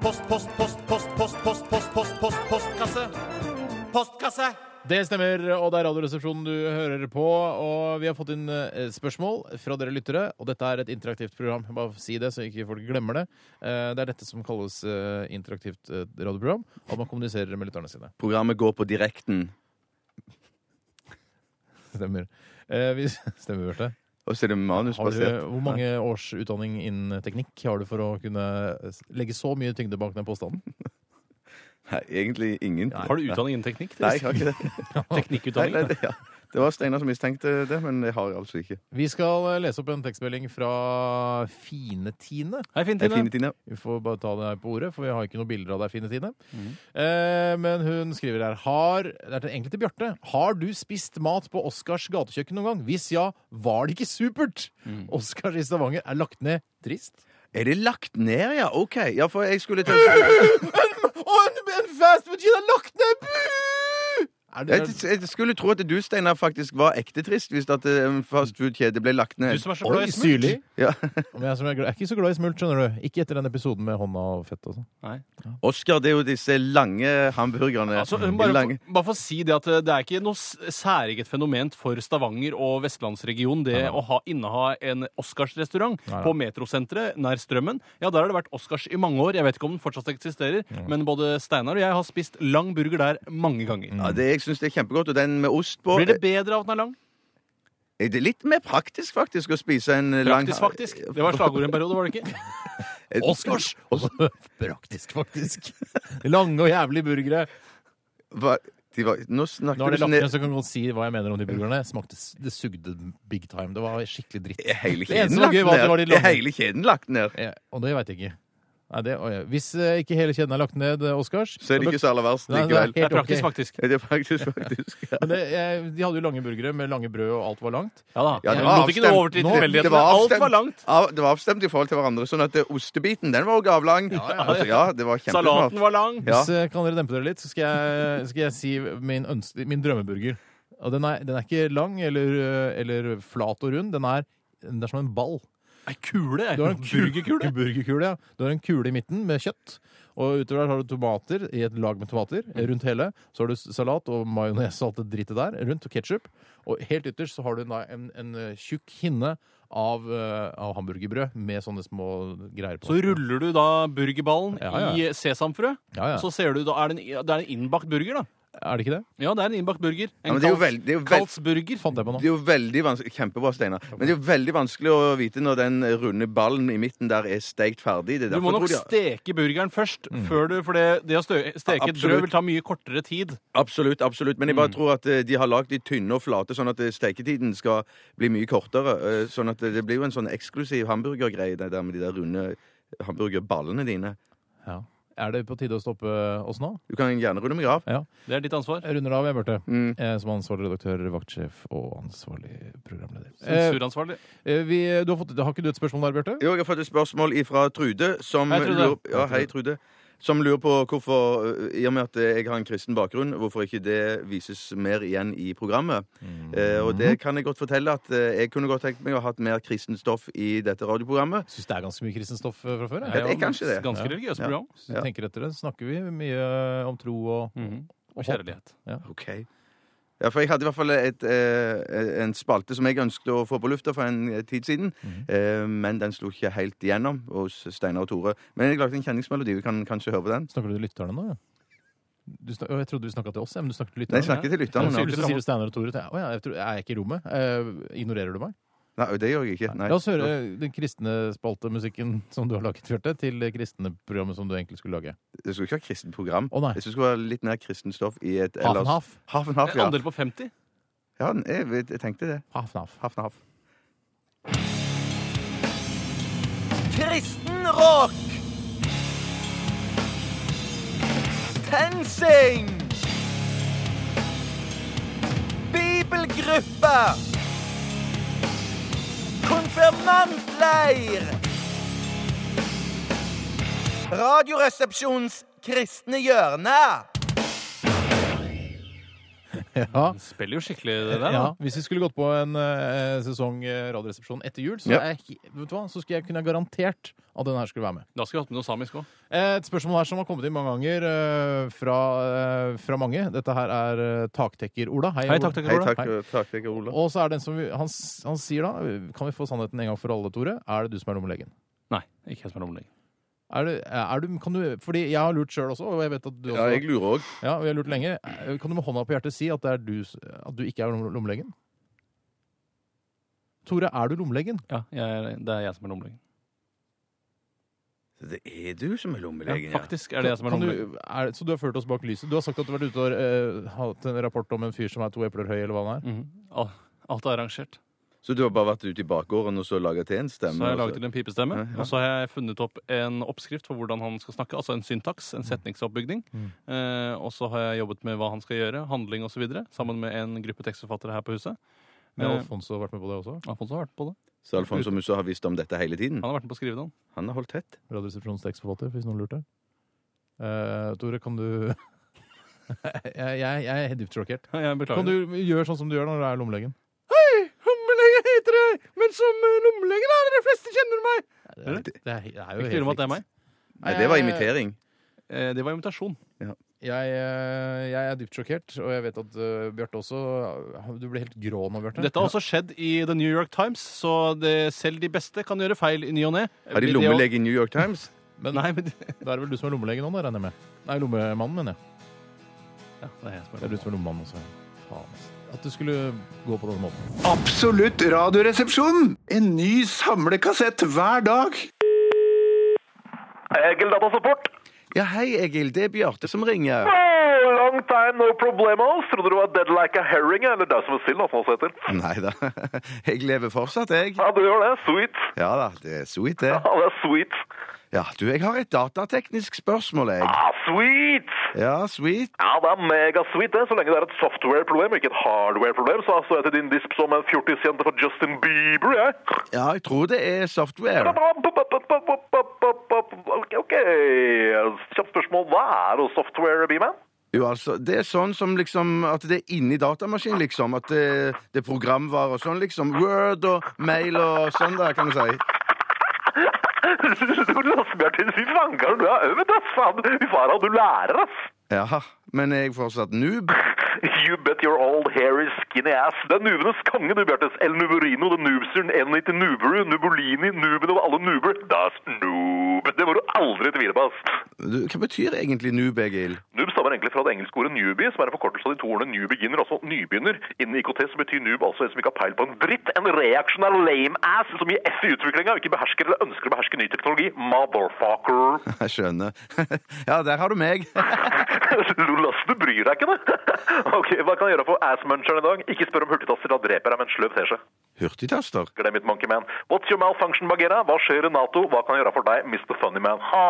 [SPEAKER 5] Post, post, post, post, post, post, post, post, post, postkasse. Postkasse.
[SPEAKER 1] Det stemmer, og det er Radioresepsjonen du hører på. Og vi har fått inn eh, spørsmål fra dere lyttere, og dette er et interaktivt program. Bare si det, så ikke folk glemmer det. Eh, Det er dette som kalles eh, interaktivt eh, radioprogram, at man kommuniserer med lytterne sine.
[SPEAKER 7] Programmet går på direkten.
[SPEAKER 1] <laughs> Stemmer. Eh, vi, <laughs> stemmer, Bjarte.
[SPEAKER 7] Og så er det
[SPEAKER 1] Har du,
[SPEAKER 7] manusbasert.
[SPEAKER 1] hvor mange års utdanning innen teknikk har du for å kunne eh, legge så mye tyngde bak den påstanden?
[SPEAKER 7] Nei, egentlig ingen.
[SPEAKER 3] Har du utdanning innen teknikk?
[SPEAKER 7] Nei, jeg
[SPEAKER 3] <laughs>
[SPEAKER 7] har ikke det. Nei,
[SPEAKER 3] Teknikkutdanning?
[SPEAKER 7] nei, det, ja. det var Steinar som mistenkte det, men det har jeg altså ikke.
[SPEAKER 1] Vi skal eh, lese opp en tekstmelding fra Fine-Tine.
[SPEAKER 3] Hei, Finn
[SPEAKER 7] Det er
[SPEAKER 3] Tine.
[SPEAKER 7] fine ting, ja.
[SPEAKER 1] Vi får bare ta det her på ordet, for vi har ikke noen bilder av deg, Fine Tine. Eh, men hun skriver her har, Det er til- egentlig til Bjarte. Har du spist mat på Oscars gatekjøkken noen gang? Hvis ja, var det ikke supert? Oscars i Stavanger er lagt ned. Trist.
[SPEAKER 7] Er det lagt ned, ja? OK. Ja, for jeg skulle til
[SPEAKER 3] <laughs>
[SPEAKER 7] å si
[SPEAKER 1] Og en, en fastfood-kjede er lagt ned! Er det,
[SPEAKER 7] jeg, jeg skulle tro at du, Steinar, faktisk var ekte trist hvis at eh, en fastfood-kjede ble lagt ned.
[SPEAKER 3] Du som er så
[SPEAKER 1] Oi,
[SPEAKER 3] glad i smult.
[SPEAKER 1] syrlig.
[SPEAKER 7] Ja.
[SPEAKER 1] Men jeg, som er, glad- jeg er ikke så glad i smult, skjønner du. Ikke etter den episoden med hånda og fett. og sånn.
[SPEAKER 7] Oscar, det er jo disse lange hamburgerne.
[SPEAKER 3] Altså,
[SPEAKER 7] De
[SPEAKER 3] bare,
[SPEAKER 7] lange.
[SPEAKER 3] for, bare for å si det at eh, det er ikke noe s- særeget fenomen for Stavanger og vestlandsregionen det å ha, inneha en Oscars-restaurant
[SPEAKER 1] Nei, nei.
[SPEAKER 3] på metrosenteret nær Strømmen. Ja, der har det vært Oscars i mange år. Jeg vet ikke om den fortsatt eksisterer, men både Steinar og jeg har spist lang burger der mange ganger.
[SPEAKER 7] Ja, det, jeg syns det er kjempegodt. Og den med ost på
[SPEAKER 3] Blir det bedre av at den er lang?
[SPEAKER 7] eh, det er litt mer praktisk, faktisk, å spise en eh, lang
[SPEAKER 3] Praktisk, faktisk. Det var slagordet en periode, var
[SPEAKER 7] <laughs>
[SPEAKER 3] det ikke?
[SPEAKER 7] Eh, <laughs>
[SPEAKER 3] Oscars!
[SPEAKER 1] sånn. Praktisk,
[SPEAKER 3] <laughs>
[SPEAKER 1] faktisk. Lange og jævlige burgere.
[SPEAKER 7] hva- de var, nå
[SPEAKER 1] Nå er
[SPEAKER 7] snakker
[SPEAKER 1] det
[SPEAKER 7] du
[SPEAKER 1] lagt
[SPEAKER 7] sånn
[SPEAKER 1] ned, så jeg kan godt si hva jeg mener om de burgerne. Smakte, s- det sugde big time. Det var skikkelig dritt.
[SPEAKER 7] Er hele
[SPEAKER 1] Det eneste
[SPEAKER 7] kjeden
[SPEAKER 1] som var
[SPEAKER 7] lagt
[SPEAKER 1] gøy var at det var de
[SPEAKER 7] ned? Er
[SPEAKER 1] lange.
[SPEAKER 7] hele kjeden lagt ned?
[SPEAKER 1] Ja, og det veit jeg ikke. Nei, det, oi, hvis eh, ikke hele kjeden er lagt ned, eh, Oscars
[SPEAKER 7] Så er det ikke så aller verst
[SPEAKER 1] Nei, det er
[SPEAKER 7] likevel.
[SPEAKER 3] Det
[SPEAKER 1] helt
[SPEAKER 3] er praktisk,
[SPEAKER 1] ok.
[SPEAKER 3] faktisk.
[SPEAKER 7] Ja, <laughs> Det er faktisk, faktisk. Ja.
[SPEAKER 1] <laughs> Men det, eh, de hadde jo lange burgere med lange brød, og alt var langt.
[SPEAKER 3] <laughs> Ja da.
[SPEAKER 7] Ja, det
[SPEAKER 3] Men
[SPEAKER 7] var
[SPEAKER 3] måtte ikke det
[SPEAKER 7] avstemt.
[SPEAKER 3] over til
[SPEAKER 1] Nå-
[SPEAKER 7] Det
[SPEAKER 3] tilfeldighetene.
[SPEAKER 7] var
[SPEAKER 3] Alt
[SPEAKER 7] avstemt,
[SPEAKER 3] var langt.
[SPEAKER 7] av, det var avstemt i forhold til hverandre, sånn at eh, ostebiten den var også avlang. Altså, ja, det var kjempesmart.
[SPEAKER 3] Salaten var lang.
[SPEAKER 7] Ja.
[SPEAKER 1] Så eh, kan dere dempe dere litt, så skal jeg, skal jeg si min, øns- min drømmeburger. Og den er, den er ikke lang eller, eh, eller flat og rund. Den er, den er som en ball.
[SPEAKER 3] Ei kule. ei.
[SPEAKER 1] Du har en kule,
[SPEAKER 3] Burgerkule.
[SPEAKER 1] En <laughs> burgerkule, ja. Du har en kule i midten med kjøtt. Og utover der har du tomater i et lag med tomater
[SPEAKER 3] Mm.
[SPEAKER 1] eh, rundt hele. Så har du s- salat og majones og alt det drittet der rundt, og ketsjup. Og helt ytterst så har du da en, en eh, tjukk hinne av, eh, av hamburgerbrød med sånne små greier på.
[SPEAKER 3] Så ruller du da burgerballen
[SPEAKER 1] Ja,
[SPEAKER 3] i sesamfrø.
[SPEAKER 1] Ja, ja.
[SPEAKER 3] Og så ser du da, er det, en, det er en innbakt burger, da.
[SPEAKER 1] Er det ikke det?
[SPEAKER 3] Ja, det er en innbakt burger.
[SPEAKER 7] Ja,
[SPEAKER 3] En
[SPEAKER 7] men det er jo
[SPEAKER 3] Karls-
[SPEAKER 7] veld- det er jo veld-
[SPEAKER 3] Karlsburger.
[SPEAKER 1] Fant jeg på nå.
[SPEAKER 7] Det er jo veldig vanskelig Kjempebra, Steinar. Men det er jo veldig vanskelig å vite når den runde ballen i midten der er steikt ferdig. Det er
[SPEAKER 3] Du må nok
[SPEAKER 7] derfor, tror jeg-
[SPEAKER 3] steke burgeren først,
[SPEAKER 1] Mm.
[SPEAKER 3] før du, for det, det å stø, steke et
[SPEAKER 7] Absolutt.
[SPEAKER 3] brød vil ta mye kortere tid. Mm.
[SPEAKER 7] Absolutt, absolutt. Men jeg bare tror at eh, de har lagd de tynne og flate, sånn at eh, steketiden skal bli mye kortere. eh, Sånn at eh, det blir jo en sånn eksklusiv hamburgergreie, det der med de der runde eh, hamburgerballene dine.
[SPEAKER 1] Ja. Er det på tide å stoppe oss nå?
[SPEAKER 7] Du kan gjerne runde meg av.
[SPEAKER 3] Det er ditt ansvar.
[SPEAKER 1] Jeg runder av, jeg, Bjarte.
[SPEAKER 7] Mm.
[SPEAKER 1] Eh, Som ansvarlig redaktør, vaktsjef og ansvarlig programleder. Eh,
[SPEAKER 3] Sensuransvarlig.
[SPEAKER 1] eh, vi, du har, fått, har ikke du et spørsmål der, Bjarte?
[SPEAKER 7] Jo, jeg har fått et spørsmål fra Trude, som
[SPEAKER 3] Hei, Trude.
[SPEAKER 7] lurer Ja, hei, Trude. Som lurer på hvorfor, eh, i og med at eh, jeg har en kristen bakgrunn, hvorfor ikke det vises mer igjen i programmet.
[SPEAKER 1] Mm.
[SPEAKER 7] Eh, og det kan jeg godt fortelle at eh, jeg kunne godt tenkt meg å ha hatt mer kristent stoff i dette radioprogrammet.
[SPEAKER 1] Syns det er ganske mye kristent stoff eh, fra før? jeg.
[SPEAKER 7] det er
[SPEAKER 3] jo
[SPEAKER 7] kanskje det.
[SPEAKER 3] Ganske
[SPEAKER 1] Ja.
[SPEAKER 3] religiøst
[SPEAKER 7] Ja.
[SPEAKER 3] program.
[SPEAKER 1] Hvis du tenker etter det, snakker vi mye om tro og
[SPEAKER 3] Mhm. Og kjærlighet.
[SPEAKER 7] Ok. Ja, for jeg hadde i hvert fall et, eh, en spalte som jeg ønsket å få på lufta for en tid siden,
[SPEAKER 1] Mhm.
[SPEAKER 7] eh, men den slo ikke helt igjennom hos Steinar og Tore. Men jeg lagde en kjenningsmelodi. Vi kan kanskje høre på den?
[SPEAKER 1] Snakker du til lytterne nå, ja? Du snak... Å, Jeg trodde du snakka til oss, ja, men du snakker til
[SPEAKER 7] Nei, jeg
[SPEAKER 1] lytterne.
[SPEAKER 7] snakker til
[SPEAKER 1] Ja,
[SPEAKER 7] lytterne
[SPEAKER 1] så
[SPEAKER 7] nå.
[SPEAKER 1] sier- så sier du Steinar og Tore. til- Å ja, jeg tror... er jeg ikke i rommet? Eh, ignorerer du meg?
[SPEAKER 7] Nei, det gjør jeg ikke. Nei.
[SPEAKER 1] La oss høre den kristne spaltemusikken som du har laget, Bjarte, til det kristne programmet som du egentlig skulle lage.
[SPEAKER 7] Det skulle ikke være kristent program.
[SPEAKER 1] Å, nei.
[SPEAKER 7] Jeg synes det skulle være litt mer kristent stoff i et
[SPEAKER 1] Half and half. <laughs>
[SPEAKER 7] Half and
[SPEAKER 10] Eh,
[SPEAKER 7] half,
[SPEAKER 3] En
[SPEAKER 7] ja.
[SPEAKER 3] andel på 50.
[SPEAKER 7] ja jeg, vet- jeg tenkte det.
[SPEAKER 1] Half and half.
[SPEAKER 7] Half and half.
[SPEAKER 5] Kristen rock! Tensing! Bibelgruppe! Konfirmantleir! Radioresepsjons kristne hjørne!
[SPEAKER 1] Ja.
[SPEAKER 3] Spiller jo skikkelig det der.
[SPEAKER 1] Ja,
[SPEAKER 3] Mm. da.
[SPEAKER 1] hvis vi skulle gått på en eh, sesong eh, Radioresepsjonen etter jul, så,
[SPEAKER 7] Ja.
[SPEAKER 1] er jeg he- vet du hva? så skulle jeg kunne garantert at den her skulle være med. Eh,
[SPEAKER 3] Da skulle vi hatt med noe samisk òg.
[SPEAKER 1] Et spørsmål her som har kommet inn mange ganger eh, fra, eh, fra mange. Dette her er eh, taktekker-Ola. Hei,
[SPEAKER 3] Hei,
[SPEAKER 1] Ola.
[SPEAKER 3] taktekker
[SPEAKER 7] Hei,
[SPEAKER 3] Ola.
[SPEAKER 7] takk, eh,
[SPEAKER 1] Hei.
[SPEAKER 7] takk, takk Ola.
[SPEAKER 1] Og så er det en som han, s- han sier da Kan vi få sannheten en gang for alle, Tore? Er det du som er lommelegen?
[SPEAKER 3] Nei, ikke jeg som er lommelege.
[SPEAKER 1] Er det, er du, kan du, fordi jeg har lurt sjøl også, og jeg vet at du også
[SPEAKER 7] Ja, jeg lurer òg.
[SPEAKER 1] Eh, ja, og jeg har lurt lenge. Kan du med hånda på hjertet si at det er du, s- at du ikke er lomme- lommelegen? Tore, er du lommelegen?
[SPEAKER 10] Ja, jeg er, det er jeg som er lommelegen.
[SPEAKER 7] Så det er du som er lommelegen,
[SPEAKER 10] Ja, faktisk er det jeg som er
[SPEAKER 1] Kan du-
[SPEAKER 10] lommelegen.
[SPEAKER 1] er- Så du har ført oss bak lyset? Du har sagt at du har vært ute og eh, hatt en rapport om en fyr som er to epler høy, eller hva han er?
[SPEAKER 10] Mhm. Al- Alt er arrangert.
[SPEAKER 7] Så du har bare vært ute i bakgården og så laga til en stemme?
[SPEAKER 10] Så har jeg
[SPEAKER 7] og
[SPEAKER 10] laget til en pipestemme,
[SPEAKER 7] altså. Ja, ja.
[SPEAKER 10] og så har jeg funnet opp en oppskrift for hvordan han skal snakke, altså en syntaks,
[SPEAKER 7] Mm.
[SPEAKER 10] en setningsoppbygning. Eh, og så har jeg jobbet med hva han skal gjøre, handling osv., sammen med en gruppe tekstforfattere her på huset.
[SPEAKER 1] Men
[SPEAKER 10] Eh,
[SPEAKER 1] Alfonso har vært med på det også?
[SPEAKER 10] Alfonso har vært på det.
[SPEAKER 7] Så Alfonso Musso har visst om dette hele tiden?
[SPEAKER 10] Han har vært med på å skrive den.
[SPEAKER 7] Han har holdt tett.
[SPEAKER 1] Radioresepsjonens tekstforfatter, hvis noen lurte. Eh, Tore, kan du <laughs> jeg, jeg, jeg er dypt sjokkert.
[SPEAKER 10] Jeg beklager.
[SPEAKER 1] Kan du gjøre sånn som du gjør når du er lommelegen?
[SPEAKER 11] Hei, lommelegen heter jeg, men som eh, lommelegen er det de fleste kjenner meg.
[SPEAKER 1] Det, det er, det er jo
[SPEAKER 10] Ikke tvil om
[SPEAKER 1] helt
[SPEAKER 10] at det er meg.
[SPEAKER 1] likt.
[SPEAKER 7] Nei, det var imitering.
[SPEAKER 10] Eh, det var imitasjon.
[SPEAKER 1] Jeg, eh, jeg er dypt sjokkert, og jeg vet at eh, Bjarte også eh, Du ble helt grå nå, Bjarte.
[SPEAKER 10] Dette har også skjedd i The New York Times, så det, selv de beste kan gjøre feil i ny og ne.
[SPEAKER 7] Har de lommelege i New York Times?
[SPEAKER 10] <laughs>
[SPEAKER 1] Men,
[SPEAKER 10] Nei, men
[SPEAKER 1] Da er det vel du som er lommelegen nå, da, regner jeg med? Nei, lommemannen, mener jeg.
[SPEAKER 10] det er jeg som
[SPEAKER 1] er du som er lommemannen også. Faen. ass. At du skulle gå på den måten.
[SPEAKER 12] Absolutt radioresepsjon! En ny samlekassett hver dag.
[SPEAKER 4] Egil Data Support. Ja, hei, Egil. Det er Bjarte som ringer.
[SPEAKER 6] Oh, long time, no problemos. Trodde du var dead like a herring, eller deg som er sild, som det heter.
[SPEAKER 7] Nei da. <laughs> Jeg lever fortsatt, jeg.
[SPEAKER 6] Ja, du gjør det. Sweet.
[SPEAKER 7] Ja da, det er sweet, det.
[SPEAKER 6] Ja, det er sweet.
[SPEAKER 7] Ja, du, jeg har et datateknisk spørsmål, jeg.
[SPEAKER 6] Ah, sweet!
[SPEAKER 7] Ja, sweet.
[SPEAKER 6] Ja, det er megasweet, det. Så lenge det er et software-problem, ikke et hardware-problem, så står jeg til din disp som en fjortisjente for Justin Bieber, jeg.
[SPEAKER 7] Ja, jeg tror det er software.
[SPEAKER 6] Ok, ok. Kjapt spørsmål. Hva er software, B-man?
[SPEAKER 7] Jo, altså, Det er sånn som liksom At det er inni datamaskinen, liksom. At det, det er programvare og sånn, liksom. Word og mail og sånn, da, kan du si.
[SPEAKER 6] Bjartin, fy fankeren, du er øvet, ass. Faen, Fy faen, du lærer, ass.
[SPEAKER 7] Jaha. Men jeg er fortsatt noob.
[SPEAKER 6] You bet your old hairy skinny ass. Det er nubenes konge, du, Bjartes. El Nuberino, The Noobseren, N90 Nuberu, Nubolini, Nuben over alle nuber. Das Noob. Det må du aldri tvile på, ass.
[SPEAKER 7] Du, Hva betyr egentlig noob, Egil? <laughs>
[SPEAKER 6] Noob stammer egentlig fra det engelske ordet newbie, som er en forkortelse av de to ordene new beginner, altså nybegynner. Innen IKT så betyr noob altså en som ikke har peil på en dritt, en reaksjonær lame ass som gir F i utviklinga og ikke behersker eller ønsker å beherske ny teknologi. Motherfucker.
[SPEAKER 7] Jeg skjønner. <laughs> Ja, der har du meg. <laughs>
[SPEAKER 6] Lolass, <laughs> du bryr deg ikke, du. <laughs> ok, hva kan jeg gjøre for ass-muncheren i dag? Ikke spør om hurtigtasser, da dreper jeg med en sløv teskje.
[SPEAKER 7] Hurtigtaster?
[SPEAKER 6] Glem it, monkey man. What's your malfunction, Bagheera? Hva skjer i Nato? Hva kan jeg gjøre for deg, Mr. Funny Man? Ha.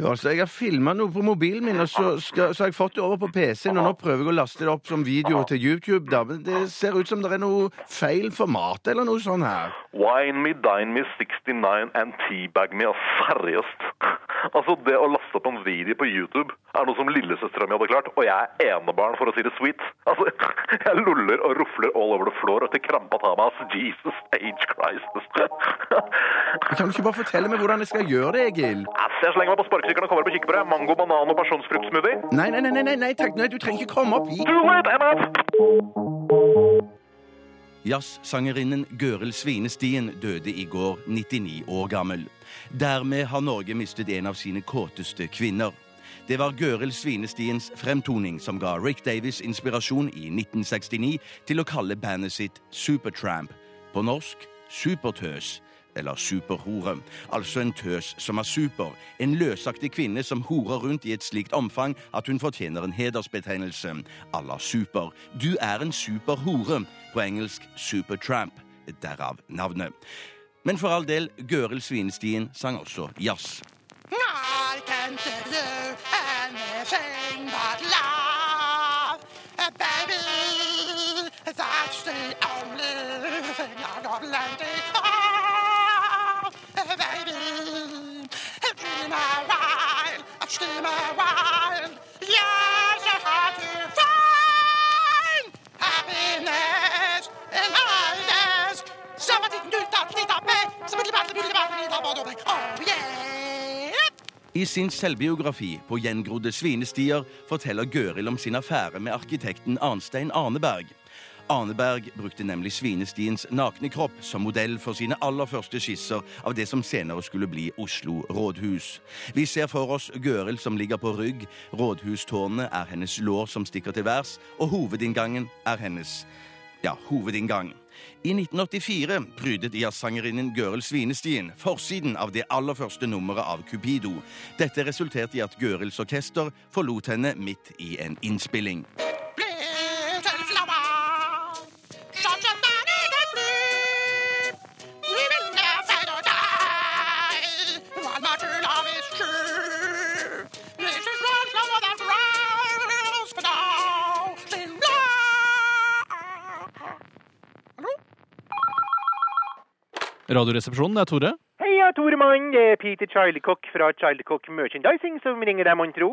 [SPEAKER 7] Jo, altså, Jeg har filma noe på mobilen min, og så, skal, så har jeg fått det over på PC-en. Og nå prøver jeg å laste det opp som video til YouTube. Da. Men det ser ut som det er noe feil format eller noe sånn her.
[SPEAKER 6] Wine me, dine me, 69 and teabag me, ass. Seriøst. <laughs> altså, det å laste opp en video på YouTube er noe som lillesøstera mi hadde klart, og jeg er enebarn, for å si det sweet. Altså, <laughs> jeg luller og rufler all over the floor etter krampa tar meg, ass. Jesus age Christ.
[SPEAKER 7] Kan du ikke bare fortelle meg hvordan jeg skal gjøre det, Egil?
[SPEAKER 6] ass, jeg slenger meg på sparkesykkelen og kommer på kikkebrød. Mango,
[SPEAKER 13] <laughs>
[SPEAKER 6] banan og pasjonsfruktsmoothie.
[SPEAKER 7] Nei, nei, nei, nei, nei, nei takk. Nei, du trenger ikke komme opp hit.
[SPEAKER 6] Too late, I'm out.
[SPEAKER 14] Jazzsangerinnen Gøril Svinestien døde i går, 99 år gammel. Dermed har Norge mistet en av sine kåteste kvinner. Det var Gøril Svinestiens fremtoning som ga Rick Davis inspirasjon i 1969 til å kalle bandet sitt Supertramp. På norsk supertøs, eller superhore. Altså en tøs som er super. En løsaktig kvinne som horer rundt i et slikt omfang at hun fortjener en hedersbetegnelse. À la super. Du er en superhore. På engelsk supertramp. Derav navnet. Men for all del, Gøril Svinestien sang også jazz.
[SPEAKER 11] I can't do anything but love, uh, baby. That's the only thing I got left to love, uh, baby. Steam a while, steam a while. Yes, I have to find happiness in idleness. Somebody can do that, need that, me. Somebody about the beauty, about the need that, about the way. Oh, yeah.
[SPEAKER 14] I sin selvbiografi på gjengrodde svinestier forteller Gøril om sin affære med arkitekten Arnstein Arneberg. Arneberg brukte nemlig svinestiens nakne kropp som modell for sine aller første skisser av det som senere skulle bli Oslo rådhus. Vi ser for oss Gøril som ligger på rygg, rådhustårnet er hennes lår som stikker til værs, og hovedinngangen er hennes. ja, hovedinngang. I 1984 prydet jazzsangerinnen Gøril Svinestien forsiden av det aller første nummeret av Cupido. Dette resulterte i at Gørils orkester forlot henne midt i en innspilling.
[SPEAKER 3] Radioresepsjonen, det er Tore.
[SPEAKER 15] Hei, jeg er Tore Mann. Det er Peter Childecock fra Childecock Merchandising som ringer deg, mon tro.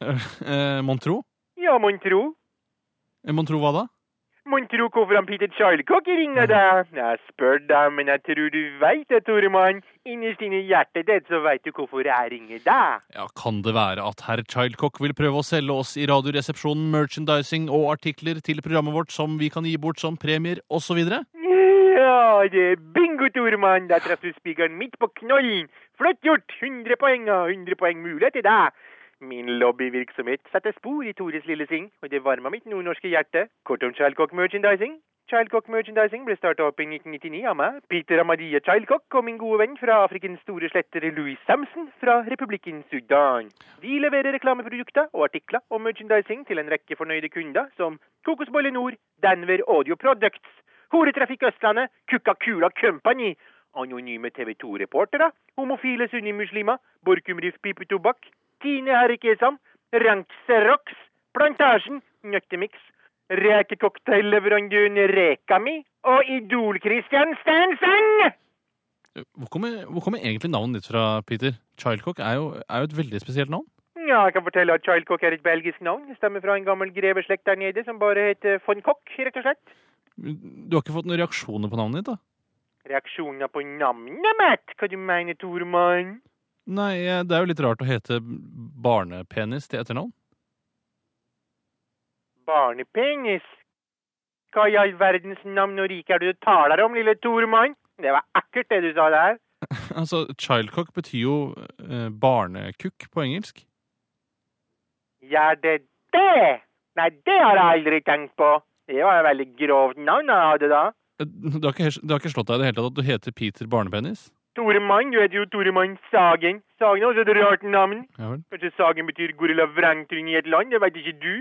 [SPEAKER 3] Eh, Mon tro?
[SPEAKER 15] Ja, mon tro.
[SPEAKER 3] Eh, Mon tro hva da?
[SPEAKER 15] Mon tro hvorfor han Peter Childecock ringer deg? Jeg spør deg, men jeg tror du veit det, Tore Mann. Innerst inne i hjertet ditt så veit du hvorfor jeg ringer deg.
[SPEAKER 3] Ja, Kan det være at herr Childcock vil prøve å selge oss i Radioresepsjonen merchandising og artikler til programmet vårt som vi kan gi bort som premier, osv.?
[SPEAKER 15] Ja, det er bingo, Tore Mann. Der traff du spikeren midt på knollen. Flott gjort. 100 poeng og 100 poeng mulighet til deg. Min lobbyvirksomhet setter spor i Tores lille sing, og det varma mitt nordnorske hjerte. Kort om Childcock Merchandising. Childcock Merchandising ble starta opp i 1999 av meg, Peter Amadia Childcock og min gode venn fra Afrikens store sletter Louis Samson fra republikken Sudan. De leverer reklameprodukter og artikler og merchandising til en rekke fornøyde kunder som Kokosbolle Nord, Denver Audio Products, Horetrafikk Østlandet, Kukka Kula Company, anonyme TV 2-reportere, homofile sunnimuslimer, Borkum Riff Pipetobakk, Tine Herrik Esam, Rankserox, Plantasjen, Nøttemix, Rekecocktailleverandøren Rekami og Idol-Christian Stensen!
[SPEAKER 3] Hvor kommer, hvor kommer egentlig navnet ditt fra, Peter? Childcock er jo, er jo et veldig spesielt navn.
[SPEAKER 15] Ja, jeg kan fortelle at Childcock er et belgisk navn. Det Stammer fra en gammel greveslekt der nede som bare heter von Koch, rett og slett.
[SPEAKER 3] Du har ikke fått noen reaksjoner på navnet ditt, da?
[SPEAKER 15] Reaksjoner på navnet mitt? Hva du mener, Toremann?
[SPEAKER 3] Nei, eh, det er jo litt rart å hete barnepenis til etternavn. <laughs>
[SPEAKER 15] Barnepenis? Hva i all verdens navn og rike er det du taler om, lille Toremann? Det var ekkelt det du sa der.
[SPEAKER 3] Altså, Childcock betyr jo eh, barnekukk på engelsk.
[SPEAKER 15] Ja, det det? Nei, det har jeg aldri tenkt på. Det var et veldig grovt navn jeg hadde da.
[SPEAKER 3] Eh, Du har ikke, du har ikke slått deg i det hele tatt at du heter Peter Barnepenis?
[SPEAKER 15] Toremann, du heter jo Toremann Sagen. Sagen er også et rart navn.
[SPEAKER 3] Ja vel.
[SPEAKER 15] Kanskje Sagen betyr gorilla vrangtryng i et land, det vet ikke du.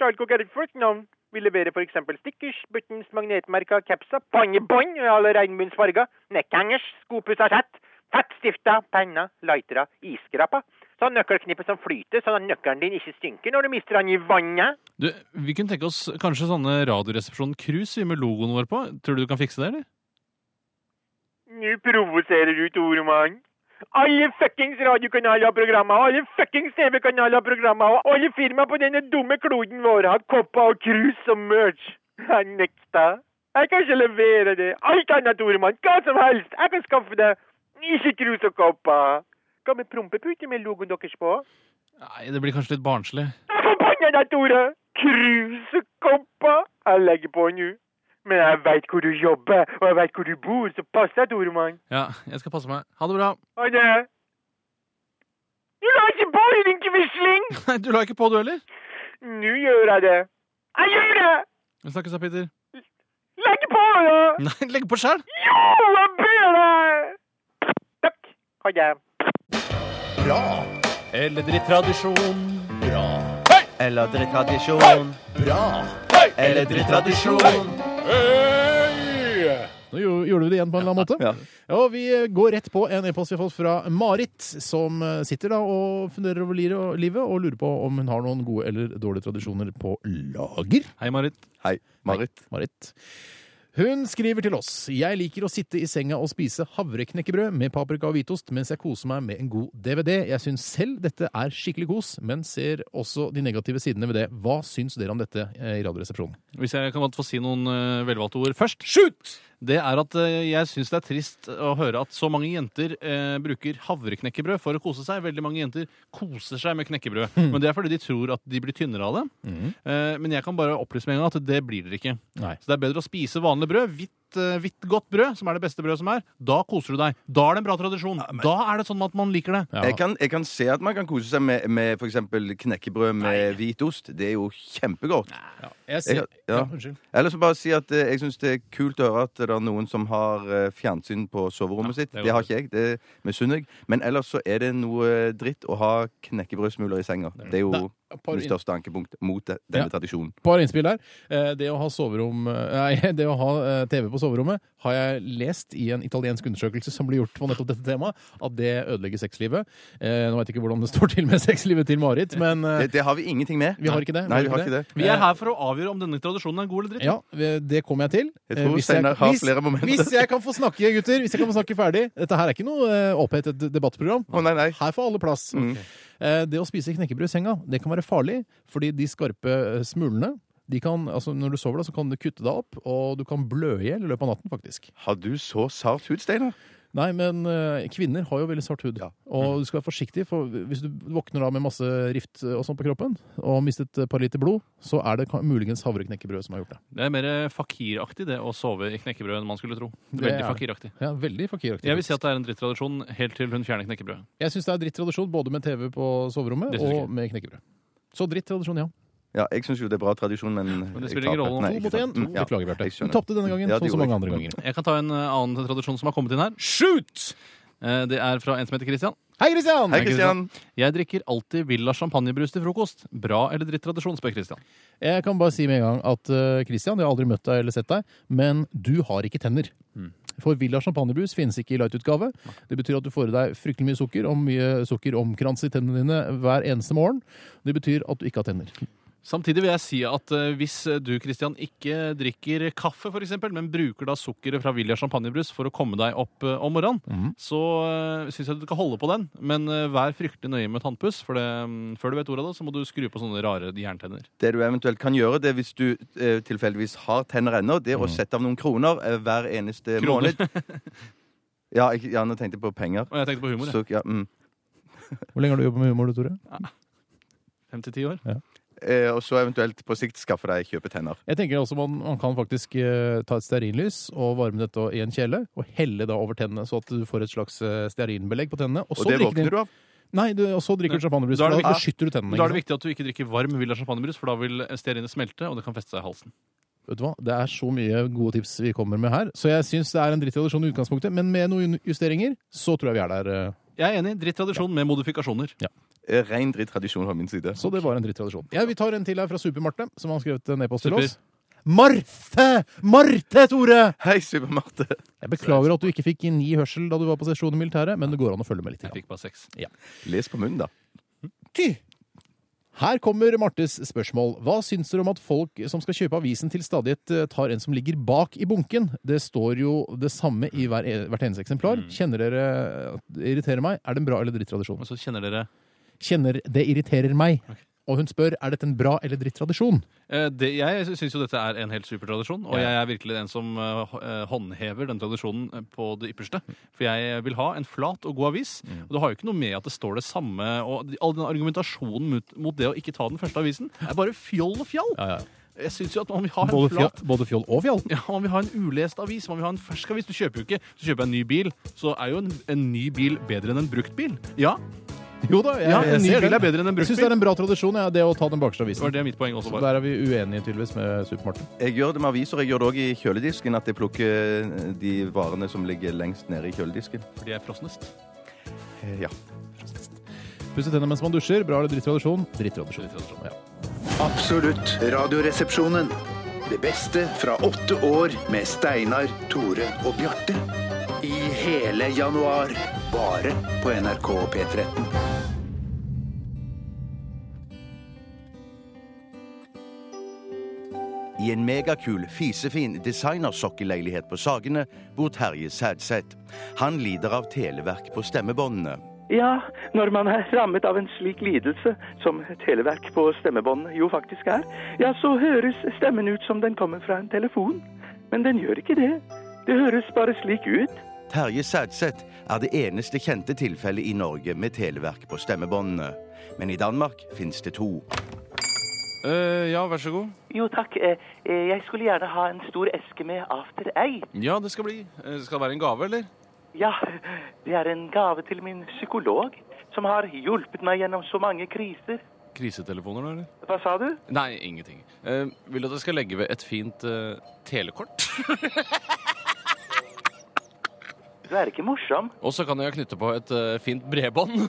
[SPEAKER 15] Charlcock er et flott navn. Vi leverer for eksempel stickers, buttons, magnetmerker, capser, pannebånd i alle regnbundsfarger, nekkhangers, skopusser sett, fettstifter, penner, lightere, isskraper. Sånn nøkkelknippe som flyter, sånn at nøkkelen din ikke synker når du mister den i vannet.
[SPEAKER 3] Du, vi kunne tenke oss kanskje sånne Radioresepsjon-krus vi med logoen vår på. Tror du du kan fikse det, eller?
[SPEAKER 15] Nå provoserer du, Toremann. Alle fuckings radiokanaler har programmer, og alle fuckings TV-kanaler har programmer, og alle firmaer på denne dumme kloden vår har kopper og krus som merch. Jeg nekter. Jeg kan ikke levere det. Alt annet, Toremann. Hva som helst. Jeg kan skaffe det. Ikke krus og kopper. Hva med prompeputer med logoen deres på?
[SPEAKER 3] Nei, det blir kanskje litt barnslig.
[SPEAKER 15] Forbanna deg, Tore! Krusekoppa! Jeg legger på nå. Men jeg veit hvor du jobber, og jeg veit hvor du bor, så pass deg, Toremann.
[SPEAKER 3] Ja, jeg skal passe meg. Ha det bra.
[SPEAKER 15] Ha det. Du la ikke på deg, din quisling!
[SPEAKER 3] Nei, du la ikke på, du heller.
[SPEAKER 15] Nå gjør jeg det. Jeg gjør det!
[SPEAKER 3] Vi snakkes da, Peter.
[SPEAKER 15] Legg på deg!
[SPEAKER 3] Nei, legg på sjæl!
[SPEAKER 15] Jo, jeg ber deg! Takk. Ha det.
[SPEAKER 1] Bra!
[SPEAKER 3] Eller drittradisjon.
[SPEAKER 1] Bra!
[SPEAKER 4] Eller drittradisjon.
[SPEAKER 1] Bra!
[SPEAKER 4] Eller drittradisjon.
[SPEAKER 1] Nå gjo- gjorde vi det igjen på en eller annen måte. Og vi går rett på en e-post vi har fått fra Marit, som eh, sitter da og funderer over li- og livet og lurer på om hun har noen gode eller dårlige tradisjoner på lager.
[SPEAKER 3] Hei, Marit.
[SPEAKER 1] Hei, Marit. Hun skriver til oss. Jeg liker å sitte i senga og spise havreknekkebrød med paprika og hvitost mens jeg koser meg med en god DVD. Jeg syns selv dette er skikkelig kos, men ser også de negative sidene ved det. Hva syns dere om dette eh, i Radioresepsjonen?
[SPEAKER 3] Hvis jeg kan godt få si noen eh, velvalgte ord først. Shoot! Det er at eh, jeg syns det er trist å høre at så mange jenter eh, bruker havreknekkebrød for å kose seg. Veldig mange jenter koser seg med knekkebrød.
[SPEAKER 1] Mm.
[SPEAKER 3] Men det er fordi de tror at de blir tynnere Mhm. av det. Eh, men jeg kan bare opplyse med en gang at det blir dere ikke.
[SPEAKER 1] Nei.
[SPEAKER 3] Så det er bedre å spise vanlig brød. Hvitt et eh, hvitt godt brød, som er det beste brødet som er, da koser du deg. Da er det en bra tradisjon. Da er det sånn at man liker det.
[SPEAKER 7] Jeg, kan, jeg kan se at man kan kose seg med, med f.eks. knekkebrød med hvit ost. Det er jo kjempegodt.
[SPEAKER 3] jeg ser-
[SPEAKER 7] ja.
[SPEAKER 3] ja, unnskyld.
[SPEAKER 7] Eller så bare si at eh, jeg syns det er kult å høre at det er noen som har eh, fjernsyn på soverommet sitt.
[SPEAKER 3] det er
[SPEAKER 7] Det har ikke jeg. Det misunner jeg. Men ellers så er det noe eh, dritt å ha knekkebrødsmuler i senga. Det er jo
[SPEAKER 1] par
[SPEAKER 7] mitt
[SPEAKER 1] inn-
[SPEAKER 7] største ankepunkt mot de- denne tradisjonen.
[SPEAKER 1] par innspill der. Eh, Det å ha, soverom, nei, <laughs> det å ha eh, TV på soverommet har jeg lest i en italiensk undersøkelse som ble gjort på nettopp dette temaet, at det ødelegger sexlivet. Eh, Nå vet jeg ikke hvordan det står til med <laughs> sexlivet til Marit, men eh,
[SPEAKER 7] Det, det har vi ingenting med.
[SPEAKER 1] Vi har ikke det.
[SPEAKER 7] Nei, vi har ikke det.
[SPEAKER 3] Vi er her for å avgjøre om denne tradisjonen er god eller dritt.
[SPEAKER 1] Ja, vi- det kommer jeg til.
[SPEAKER 7] Jeg
[SPEAKER 1] Eh,
[SPEAKER 7] tror
[SPEAKER 1] hvis
[SPEAKER 7] Steinar har
[SPEAKER 1] hvis-
[SPEAKER 7] flere momenter.
[SPEAKER 1] Hvis jeg kan få snakke, gutter. Hvis jeg kan få snakke ferdig. Dette her er ikke noe eh, opphetet debattprogram. Her får alle plass.
[SPEAKER 7] Mm.
[SPEAKER 1] Eh, det å spise knekkebrød i senga, det kan være farlig, fordi de skarpe eh, smulene de kan, altså Når du sover, da, så kan du kutte deg opp, og du kan blø i hjel i løpet av natten, faktisk.
[SPEAKER 7] Har du så sart hud, Steinar?
[SPEAKER 1] Nei, men eh, kvinner har jo veldig sart hud. Og du skal være forsiktig, for hvis du våkner da med masse rift eh, og sånn på kroppen, og har mistet et par liter blod, så er det ka- muligens havreknekkebrød som har gjort det.
[SPEAKER 3] Det er mer eh, fakiraktig det å sove i knekkebrød enn man skulle tro.
[SPEAKER 1] Det
[SPEAKER 3] Veldig
[SPEAKER 1] er det.
[SPEAKER 3] fakiraktig.
[SPEAKER 1] Ja, veldig fakiraktig.
[SPEAKER 3] Jeg vil si at det er en drittradisjon helt til hun fjerner knekkebrødet.
[SPEAKER 1] Jeg syns det er drittradisjon både med TV på soverommet
[SPEAKER 3] Det synes jeg
[SPEAKER 1] og med knekkebrød. Så drittradisjon, ja.
[SPEAKER 7] Ja, jeg syns jo det er bra tradisjon, men
[SPEAKER 3] Men det
[SPEAKER 7] jeg
[SPEAKER 3] spiller ingen
[SPEAKER 7] taper.
[SPEAKER 3] rolle nå.
[SPEAKER 7] Nei,
[SPEAKER 3] To
[SPEAKER 7] ikke
[SPEAKER 3] mot
[SPEAKER 7] sant.
[SPEAKER 3] én.
[SPEAKER 7] Mm, ja.
[SPEAKER 1] Beklager, Bjarte.
[SPEAKER 7] Jeg skjønner.
[SPEAKER 1] Du tapte denne gangen,
[SPEAKER 7] Ja, det
[SPEAKER 1] sånn som
[SPEAKER 7] gjorde
[SPEAKER 1] mange
[SPEAKER 7] jeg. Mm.
[SPEAKER 1] andre ganger.
[SPEAKER 3] Jeg kan ta en eh, annen tradisjon som har kommet inn her. Shoot! Eh, Det er fra en som heter Christian.
[SPEAKER 1] Hei, Christian! Hei, Christian.
[SPEAKER 3] Jeg drikker alltid Villa champagnebrus til frokost. Bra eller dritt tradisjon, spør Christian.
[SPEAKER 1] Jeg kan bare si med en gang at eh, Christian, jeg har aldri møtt deg eller sett deg, men du har ikke tenner.
[SPEAKER 3] Hmm.
[SPEAKER 1] For Villa champagnebrus finnes ikke i lightutgave. Det betyr at du får i deg fryktelig mye sukker, og mye sukker omkranser tennene dine hver eneste morgen. Det betyr at du ikke har tenner.
[SPEAKER 3] Samtidig vil jeg si at eh, hvis du Christian, ikke drikker kaffe, for eksempel, men bruker da sukkeret fra Vilja champagnebrus for å komme deg opp eh, om morgenen,
[SPEAKER 1] Mhm.
[SPEAKER 3] så uh, syns jeg du skal holde på den. Men eh, vær fryktelig nøye med tannpuss, for det, mm, før du vet ordet av det, så må du skru på sånne rare jerntenner.
[SPEAKER 7] Det du eventuelt kan gjøre, det er hvis du eh, tilfeldigvis har tenner ennå, det er
[SPEAKER 1] Mm.
[SPEAKER 7] å sette av noen kroner eh, hver eneste
[SPEAKER 3] Kroner.
[SPEAKER 7] måned. <laughs> Ja, jeg, ja, nå tenkte jeg på penger.
[SPEAKER 3] Og jeg tenkte på humor, jeg.
[SPEAKER 7] Så, ja, mm.
[SPEAKER 1] Hvor lenge har du jobbet med humor, du, Tore?
[SPEAKER 3] Fem til ti år.
[SPEAKER 7] eh, og så eventuelt på sikt skaffe deg kjøpetenner.
[SPEAKER 1] Jeg tenker også man, man kan faktisk eh, ta et stearinlys og varme dette i en kjele, og helle da over tennene, så at du får et slags eh, stearinbelegg på tennene.
[SPEAKER 7] Og det våkner du av?
[SPEAKER 1] Nei, du, og så drikker du champagnebrus.
[SPEAKER 3] Da
[SPEAKER 1] Da,
[SPEAKER 3] er det
[SPEAKER 1] da
[SPEAKER 3] viktig-
[SPEAKER 1] beskytter du tennene.
[SPEAKER 3] Da er det
[SPEAKER 1] ikke sant?
[SPEAKER 3] viktig at du ikke drikker varm Villa champagnebrus, for da vil stearinet smelte, og det kan feste seg i halsen.
[SPEAKER 1] Vet du hva? Det er så mye gode tips vi kommer med her, så jeg syns det er en drittradisjon i utgangspunktet, men med noen justeringer så tror jeg vi er der. eh.
[SPEAKER 3] Jeg er enig. Drittradisjon med modifikasjoner.
[SPEAKER 7] Eh, Ren drittradisjon fra min side.
[SPEAKER 1] Så det var en drittradisjon. Ja, vi tar en til her fra Super-Marte, som har skrevet en e-post til
[SPEAKER 7] Super.
[SPEAKER 1] oss. Marte! Marte, Tore!
[SPEAKER 7] Hei, Super-Marte.
[SPEAKER 1] Jeg beklager at du ikke fikk ni hørsel da du var på sesjon i militæret, men det går an å følge med litt.
[SPEAKER 3] Jeg fikk bare seks.
[SPEAKER 1] Ja.
[SPEAKER 7] Les på munnen, da.
[SPEAKER 1] Ty! Her kommer Martes spørsmål. Hva syns dere om at folk som skal kjøpe avisen til stadighet eh, tar en som ligger bak i bunken? Det står jo det samme i hver, e- hvert eneste eksemplar.
[SPEAKER 3] Mm.
[SPEAKER 1] Kjenner dere at det irriterer meg? Er det en bra eller drittradisjon?
[SPEAKER 3] Og så kjenner dere
[SPEAKER 1] Kjenner det irriterer meg. Og hun spør er dette en bra eller drittradisjon.
[SPEAKER 3] Eh, Det, jeg syns jo dette er en helt super tradisjon, og
[SPEAKER 1] Ja.
[SPEAKER 3] jeg er virkelig den som eh, hå- eh, håndhever den tradisjonen eh, på det ypperste.
[SPEAKER 1] Mm.
[SPEAKER 3] For jeg vil ha en flat og god avis, og det har jo ikke noe med at det står det samme og de- All den argumentasjonen mot, mot det å ikke ta den første avisen, er bare fjoll og fjall. Jeg synes jo at man vil ha en
[SPEAKER 1] Både fjall,
[SPEAKER 3] flat
[SPEAKER 1] både fjoll og fjall.
[SPEAKER 3] ja, Man vil ha en ulest avis, man vil ha en fersk avis. Du kjøper jo ikke Du kjøper en ny bil, så er jo en, en ny bil bedre enn en brukt bil. Ja.
[SPEAKER 1] Jo da, jeg,
[SPEAKER 3] Ja, en
[SPEAKER 1] jeg
[SPEAKER 3] ny
[SPEAKER 1] ser
[SPEAKER 3] bil
[SPEAKER 1] den.
[SPEAKER 3] er bedre enn en brukt
[SPEAKER 1] Jeg syns det er en bra tradisjon, ja, det å ta den bakerste
[SPEAKER 3] Det var
[SPEAKER 1] avisen.
[SPEAKER 3] det mitt poeng også
[SPEAKER 1] Så
[SPEAKER 3] var.
[SPEAKER 1] der er vi uenige tydeligvis med Supermarten.
[SPEAKER 7] Jeg gjør det med aviser. Jeg gjør det òg i kjøledisken. At jeg plukker eh, de varene som ligger lengst nede i kjøledisken.
[SPEAKER 3] Fordi jeg er frosnest.
[SPEAKER 7] Eh, Ja.
[SPEAKER 1] Pusse tennene mens man dusjer. Bra eller drittradisjon? Drittradisjon. Ja.
[SPEAKER 12] Absolutt Radioresepsjonen. Det beste fra åtte år med Steinar, Tore og Bjarte. I hele januar. Bare på NRK P13.
[SPEAKER 16] I en megakul, fisefin designersokkeleilighet på Sagene bor Terje Sædseth. Han lider av televerk på stemmebåndene.
[SPEAKER 17] Ja, når man er rammet av en slik lidelse, som televerk på stemmebånd jo faktisk er, ja, så høres stemmen ut som den kommer fra en telefon. Men den gjør ikke det. Det høres bare slik ut.
[SPEAKER 16] Terje Sædseth er det eneste kjente tilfellet i Norge med televerk på stemmebåndene. Men i Danmark fins det to.
[SPEAKER 3] Eh, ja, vær så god.
[SPEAKER 17] Jo, takk. Eh, eh, Jeg skulle gjerne ha en stor eske med After Ei.
[SPEAKER 3] Ja, det skal bli. Eh, Skal det være en gave, eller?
[SPEAKER 17] Ja, det er en gave til min psykolog, som har hjulpet meg gjennom så mange kriser.
[SPEAKER 3] Krisetelefoner, eller?
[SPEAKER 17] Hva sa du?
[SPEAKER 3] Nei, ingenting. Eh, vil du at jeg skal legge ved et fint eh, telekort?
[SPEAKER 17] Du er ikke morsom.
[SPEAKER 3] Og så kan jeg knytte på et eh, fint bredbånd.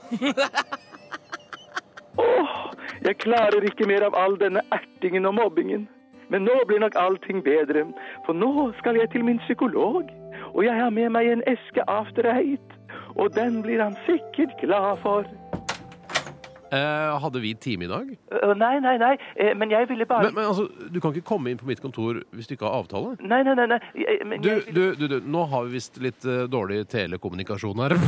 [SPEAKER 17] Jeg klarer ikke mer av all denne ertingen og mobbingen. Men nå blir nok allting bedre, for nå skal jeg til min psykolog. Og jeg har med meg en eske After Eight, og den blir han sikkert glad for.
[SPEAKER 13] Eh, hadde vi time i dag?
[SPEAKER 17] Ø, nei, nei, nei, eh, men jeg ville bare
[SPEAKER 13] Men, men altså, du kan ikke komme inn på mitt kontor hvis du ikke har avtale.
[SPEAKER 17] Nei, nei, nei. nei. Jeg, men
[SPEAKER 13] Du,
[SPEAKER 17] jeg
[SPEAKER 13] du, du, du, nå har vi visst litt eh, dårlig telekommunikasjon her.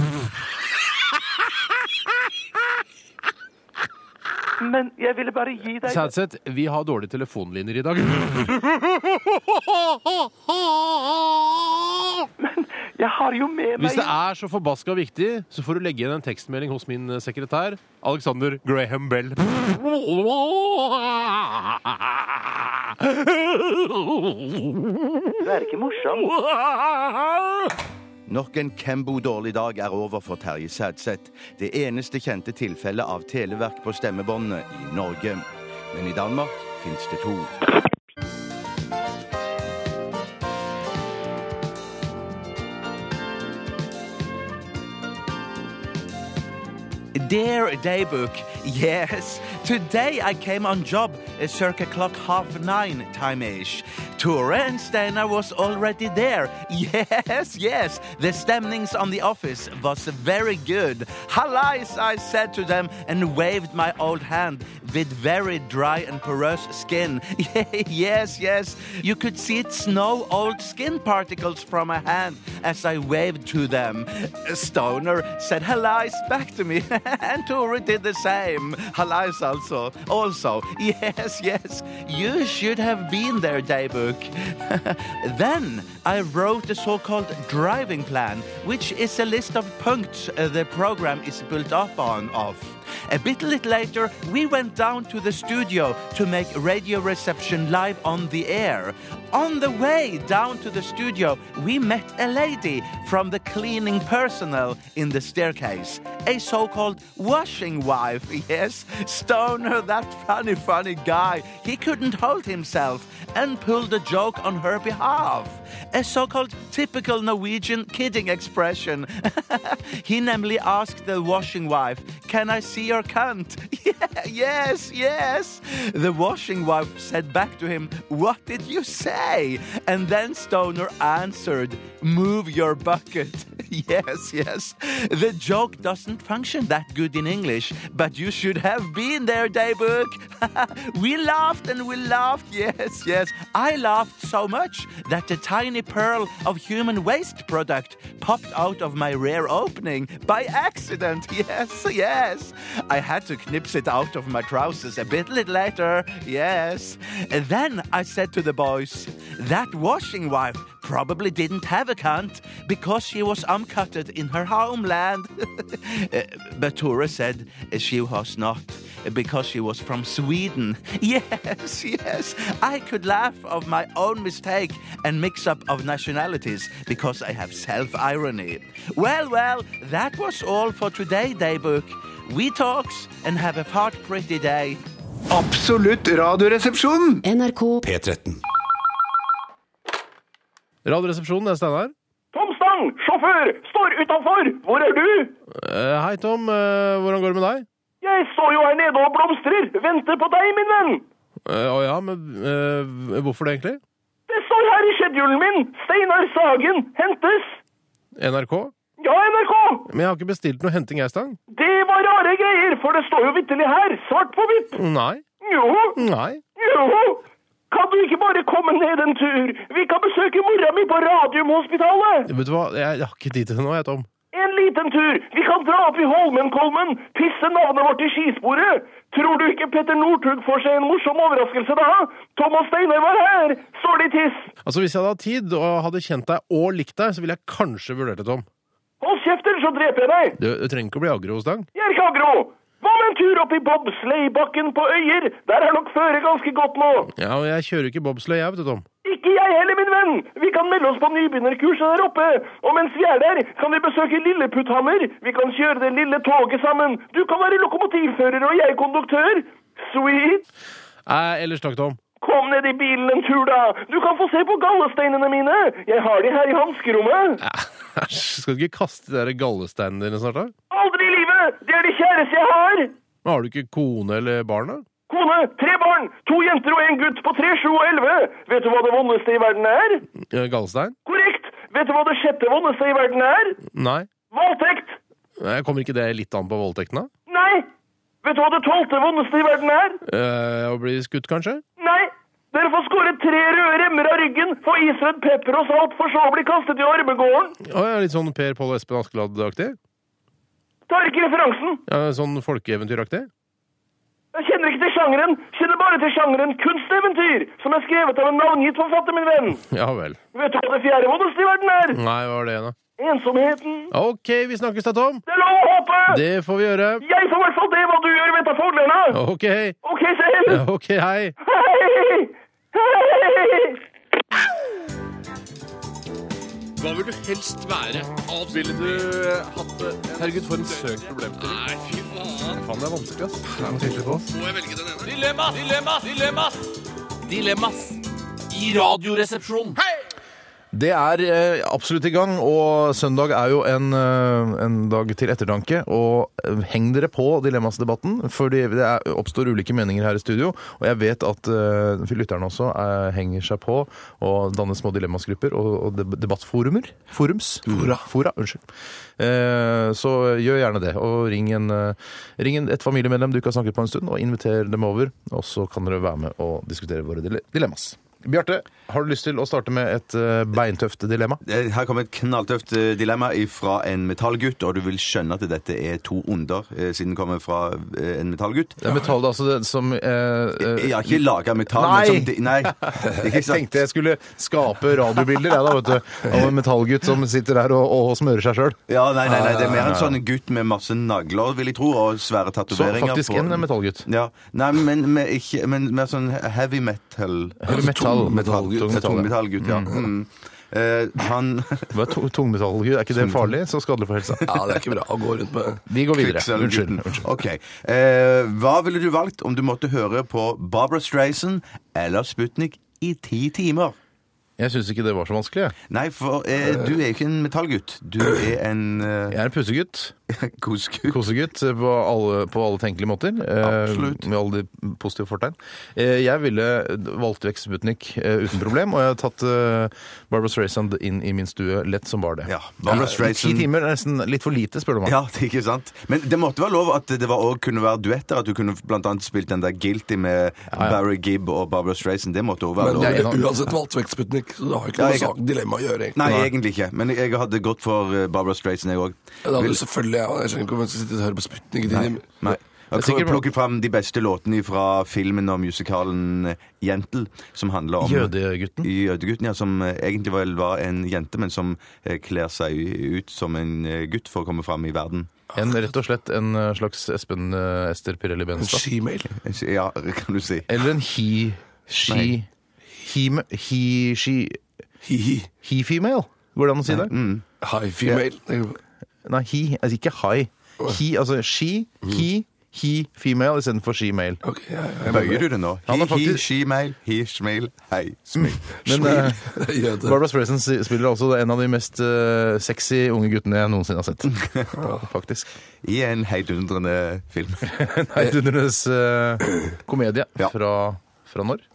[SPEAKER 17] Men jeg ville bare gi deg
[SPEAKER 13] Sædseth, vi har dårlige telefonlinjer i dag.
[SPEAKER 17] <laughs> Jeg har jo med
[SPEAKER 13] Hvis det er så forbaska viktig, så får du legge igjen en tekstmelding hos min eh, sekretær, Alexander Graham
[SPEAKER 1] <laughs>
[SPEAKER 13] Bell.
[SPEAKER 17] Du er ikke morsom.
[SPEAKER 14] Nok en Kembo-dårlig dag er over for Terje Sædseth. Det eneste kjente tilfellet av televerk på stemmebåndene i Norge. Men i Danmark fins det to.
[SPEAKER 4] Dear Daybook, yes. Today I came on job uh, circa clock half nine time-ish. Ture and Steinar was already there. <laughs> Yes, yes. The stemnings on the office was very good. Hallais, I said to them and waved my old hand with very dry and porous skin. <laughs> yes, yes. You could see it snow old skin particles from my hand as I waved to them. Stoner said hello back to me, <laughs> and Tori did the same. Hello also. Also, <laughs> yes, yes, you should have been there, <laughs> Daybook.
[SPEAKER 14] Then I wrote the so-called driving plan, which is a list of punkts uh, the program is built up on of.
[SPEAKER 4] A bit little later, we went down to the studio to make radio reception live on the air.
[SPEAKER 14] On the way down to the studio, we met a lady from the cleaning personnel in the staircase. A so called washing wife, <laughs> yes. Stoner, that funny, funny guy. He couldn't hold himself and pulled a joke on her behalf. A so called typical Norwegian kidding expression. <laughs>
[SPEAKER 4] He namely asked the washing wife, Can I see your cunt?
[SPEAKER 14] <laughs> yes, yes. The washing wife said back to him, What did you say? And then Stoner answered, Move your bucket. <laughs> yes, yes. The joke doesn't function that good in English, but you should have been there, Daybook. <laughs> we laughed and we laughed, yes, yes. I laughed so much that a tiny pearl of human waste product popped out of my rear opening by accident. <laughs> Yes, yes. I had to knips it out of my trousers a bit lit- later. Yes. And then I said to the boys, that washing wife probably didn't have a cunt because she was uncutted in her homeland. <laughs> Uh, but Tora said she was not because she was from Sweden. <laughs> Yes, yes. I could laugh of my own mistake and mix up of nationalities because I have self irony. Well, well, that was all for today, Daybook. We talks and have a fart pretty day.
[SPEAKER 12] Absolutt radioresepsjon.
[SPEAKER 13] NRK
[SPEAKER 18] P13.
[SPEAKER 13] Radioresepsjonen, det er Steinar.
[SPEAKER 19] Tom Stang, sjåfør, står utenfor! Hvor er du?
[SPEAKER 13] Eh, hei, Tom. Eh, hvordan går det med deg?
[SPEAKER 19] Jeg står jo her nede og blomstrer! Venter på deg, min venn!
[SPEAKER 13] Eh, Å ja, men eh, hvorfor det, egentlig?
[SPEAKER 19] Det står her i schedulen min! Steinar Sagen hentes!
[SPEAKER 13] NRK?
[SPEAKER 19] Ja, NRK!
[SPEAKER 13] Men jeg har ikke bestilt noe henting, jeg, Stang.
[SPEAKER 19] Det var rare greier, for det står jo vitterlig her, svart på hvitt!
[SPEAKER 13] Nei.
[SPEAKER 19] Jo!
[SPEAKER 13] Nei.
[SPEAKER 19] Jo! Kan du ikke bare komme ned en tur? Vi kan besøke mora mi på Radiumhospitalet!
[SPEAKER 13] Vet du hva, jeg har ikke tid til det nå, jeg, Tom.
[SPEAKER 19] En liten tur! Vi kan dra opp i Holmenkollen, pisse navnet vårt i skisporet! Tror du ikke Petter Northug får seg en morsom overraskelse da? Tom og Steinar var her! Står det i tiss?
[SPEAKER 13] Altså, Hvis jeg hadde hatt tid og hadde kjent deg og likt deg, så ville jeg kanskje vurdert det, Tom.
[SPEAKER 19] Hold kjeft, ellers så dreper jeg deg!
[SPEAKER 13] Du, du trenger ikke å bli aggro, Stang.
[SPEAKER 19] Jeg er ikke aggro! Hva med en tur opp i bobsleibakken på Øyer? Der er nok føret ganske godt nå.
[SPEAKER 13] Ja, og jeg kjører ikke bobsleigh, jeg, vet du, Tom.
[SPEAKER 19] Ikke jeg heller, min venn! Vi kan melde oss på nybegynnerkurset der oppe. Og mens vi er der, kan vi besøke Lilleputthammer. Vi kan kjøre det lille toget sammen. Du kan være lokomotivfører og jeg konduktør. Sweet!
[SPEAKER 13] Nei, ellers takk, Tom.
[SPEAKER 19] Kom ned i bilen en tur, da. Du kan få se på gallesteinene mine. Jeg har de her i hanskerommet.
[SPEAKER 13] Æsj, skal du ikke kaste de der gallesteinene dine snart, da?
[SPEAKER 19] Aldri i livet! Det er det kjæreste jeg har!
[SPEAKER 13] Men har du ikke kone eller barn, da?
[SPEAKER 19] Kone, tre barn, to jenter og en gutt på tre, sju og elleve. Vet du hva det vondeste i verden er?
[SPEAKER 13] Eh, Gallestein?
[SPEAKER 19] Korrekt! Vet du hva det sjette vondeste i verden er?
[SPEAKER 13] Nei.
[SPEAKER 19] Voldtekt!
[SPEAKER 13] Nei, Kommer ikke det litt an på voldtekten, da?
[SPEAKER 19] Nei! Vet du hva det tolvte vondeste i verden er?
[SPEAKER 13] Eh, å bli skutt, kanskje?
[SPEAKER 19] Nei! Dere får skåre tre røde remmer av ryggen, få isrødt pepper og salt, for så å bli kastet i ormegården.
[SPEAKER 13] Å, ja, litt sånn Per Pål Espen Askeladd-aktig?
[SPEAKER 19] Tar ikke referansen.
[SPEAKER 13] Ja, sånn folkeeventyraktig?
[SPEAKER 19] Jeg kjenner ikke til sjangeren, kjenner bare til sjangeren kunsteventyr, som er skrevet av en navngitt forfatter, min venn.
[SPEAKER 13] Ja vel.
[SPEAKER 19] Vet du hva det fjerde vondeste i verden er?
[SPEAKER 13] Nei, hva var det, da?
[SPEAKER 19] Ensomheten.
[SPEAKER 13] OK, vi snakkes da, Tom.
[SPEAKER 19] Det er lov å håpe!
[SPEAKER 13] Det får vi gjøre.
[SPEAKER 19] Jeg får i hvert fall det hva du gjør, vet jeg fordelene.
[SPEAKER 13] OK.
[SPEAKER 19] OK, selv.
[SPEAKER 13] Ja, OK, hei.
[SPEAKER 19] Hei! Hei!
[SPEAKER 3] <laughs> Hva vil du helst være? Ville du eh, hatt det? Herregud, for en søk problemstilling. Nei, fy faen.
[SPEAKER 13] Faen, det er vanskelig, ass.
[SPEAKER 3] Må jeg velge den ene? Dilemmas! Dilemmas! Dilemmas! Dilemmas i Radioresepsjonen.
[SPEAKER 1] Det er eh, absolutt i gang, og søndag er jo en, eh, en dag til ettertanke. Og eh, heng dere på dilemmasdebatten, for det er, oppstår ulike meninger her i studio. Og jeg vet at eh, lytterne også eh, henger seg på og danner små dilemmasgrupper og, og deb- debattforumer. Forums. Fora. unnskyld. Eh, så gjør gjerne det, og ring, en, eh, ring en, et familiemedlem du ikke har snakket på en stund, og inviter dem over. Og så kan dere være med og diskutere våre dile- dilemmas. Bjarte, har du lyst til å starte med et eh, beintøft dilemma?
[SPEAKER 7] Eh, Her kommer et knalltøft eh, dilemma fra en metallgutt, og du vil skjønne at dette er to onder, eh, siden det kommer fra eh, en metallgutt.
[SPEAKER 1] Det er metall, altså det, som eh, eh,
[SPEAKER 7] Jeg har ikke laga metall,
[SPEAKER 1] Nei!
[SPEAKER 7] men som de,
[SPEAKER 1] <laughs>
[SPEAKER 7] Nei! Ikke
[SPEAKER 1] Jeg tenkte jeg skulle skape radiobilder jeg da, vet du, av en metallgutt som sitter der og, og smører seg sjøl.
[SPEAKER 7] Ja, nei, nei, nei, det er mer en sånn gutt med masse nagler, vil jeg tro, og svære
[SPEAKER 1] Ah.
[SPEAKER 7] tatoveringer.
[SPEAKER 1] Så faktisk en metallgutt?
[SPEAKER 7] Ja. Nei, men, men, ikke, men mer sånn heavy metal. Altså,
[SPEAKER 1] Heavy metal,
[SPEAKER 7] Tung metallgutt.
[SPEAKER 1] tung metall, ja.
[SPEAKER 7] Tung metallgutt, ja.
[SPEAKER 1] Mm.
[SPEAKER 7] Mm. Eh, han
[SPEAKER 1] Hva er to- tungmetallgutt? Er ikke det farlig? Så skadelig for helsa.
[SPEAKER 7] Ja, det er ikke bra å gå rundt med
[SPEAKER 1] Vi går videre.
[SPEAKER 7] Kvikksølvgutten. Ok. Eh, hva ville du valgt om du måtte høre på Barbara Streisand eller Sputnik i ti timer?
[SPEAKER 1] Jeg syns ikke det var så vanskelig.
[SPEAKER 7] Nei, for eh, du er jo ikke en metallgutt. Du er en eh...
[SPEAKER 1] Jeg er en pussegutt.
[SPEAKER 7] <laughs> Kosegutt.
[SPEAKER 1] Kosegutt eh, på alle, på alle tenkelige måter. eh, Med alle de positive fortegn. Eh, Jeg ville valgt vekk Sputnik eh, uten problem, og jeg har tatt eh, Barbara Streisand inn i min stue lett som bare det.
[SPEAKER 7] Barbra
[SPEAKER 1] Eh,
[SPEAKER 7] Streisand-
[SPEAKER 1] Ti timer er nesten litt for lite, spør du meg.
[SPEAKER 7] Ja, det er ikke sant. Men det måtte være lov at det var også kunne være duetter. At du kunne blant annet spilt den der Guilty med Barry Gibb og Barbara Streisand. Det måtte også være
[SPEAKER 1] Men
[SPEAKER 7] lov.
[SPEAKER 1] det er
[SPEAKER 18] en- uansett valgt vekk Sputnik, så det har jo ikke
[SPEAKER 7] Ja,
[SPEAKER 18] noe
[SPEAKER 7] jeg-
[SPEAKER 18] sak- dilemma å gjøre, egentlig.
[SPEAKER 7] Nei,
[SPEAKER 18] Nei.
[SPEAKER 7] egentlig ikke. Men jeg hadde gått for eh, Barbara Streisand, jeg òg.
[SPEAKER 18] Ja, da hadde du selvfølgelig, ja, jeg skjønner ikke om jeg skal sitte og høre på Sputnik i
[SPEAKER 7] Nei.
[SPEAKER 18] din
[SPEAKER 7] Nei. Jeg
[SPEAKER 18] Jeg er sikker på-
[SPEAKER 7] plukker fram de beste låtene fra filmen og musikalen eh, Jentel, som handler om
[SPEAKER 1] Jødegutten?
[SPEAKER 7] Jødegutten, ja, Som eh, egentlig vel var en jente, men som eh, kler seg ut som en eh, gutt for å komme fram i verden.
[SPEAKER 1] En, rett og slett en eh, slags Espen eh, Ester Pirelli Benestad.
[SPEAKER 7] Ja, <laughs> kan du si.
[SPEAKER 1] Eller en he... She...
[SPEAKER 7] Nei.
[SPEAKER 1] He... He... She... He female. Går det an å si det?
[SPEAKER 7] Mm.
[SPEAKER 18] High female.
[SPEAKER 1] Nei, he. Altså ikke high. He, altså she, he, he female istedenfor she male.
[SPEAKER 7] Bøyer du det nå?
[SPEAKER 1] Han
[SPEAKER 7] He,
[SPEAKER 1] har faktisk
[SPEAKER 7] he, she, mail, he, smil, hei, smil.
[SPEAKER 1] Men
[SPEAKER 7] Smil.
[SPEAKER 18] <laughs>
[SPEAKER 7] <laughs>
[SPEAKER 1] eh, Barbara Streisand si- spiller altså en av de mest eh, sexy unge guttene jeg noensinne
[SPEAKER 7] <laughs>
[SPEAKER 1] har sett. Faktisk.
[SPEAKER 7] I en heidundrende film.
[SPEAKER 1] <laughs> Nei, Dundernes eh, komedie fra, fra når?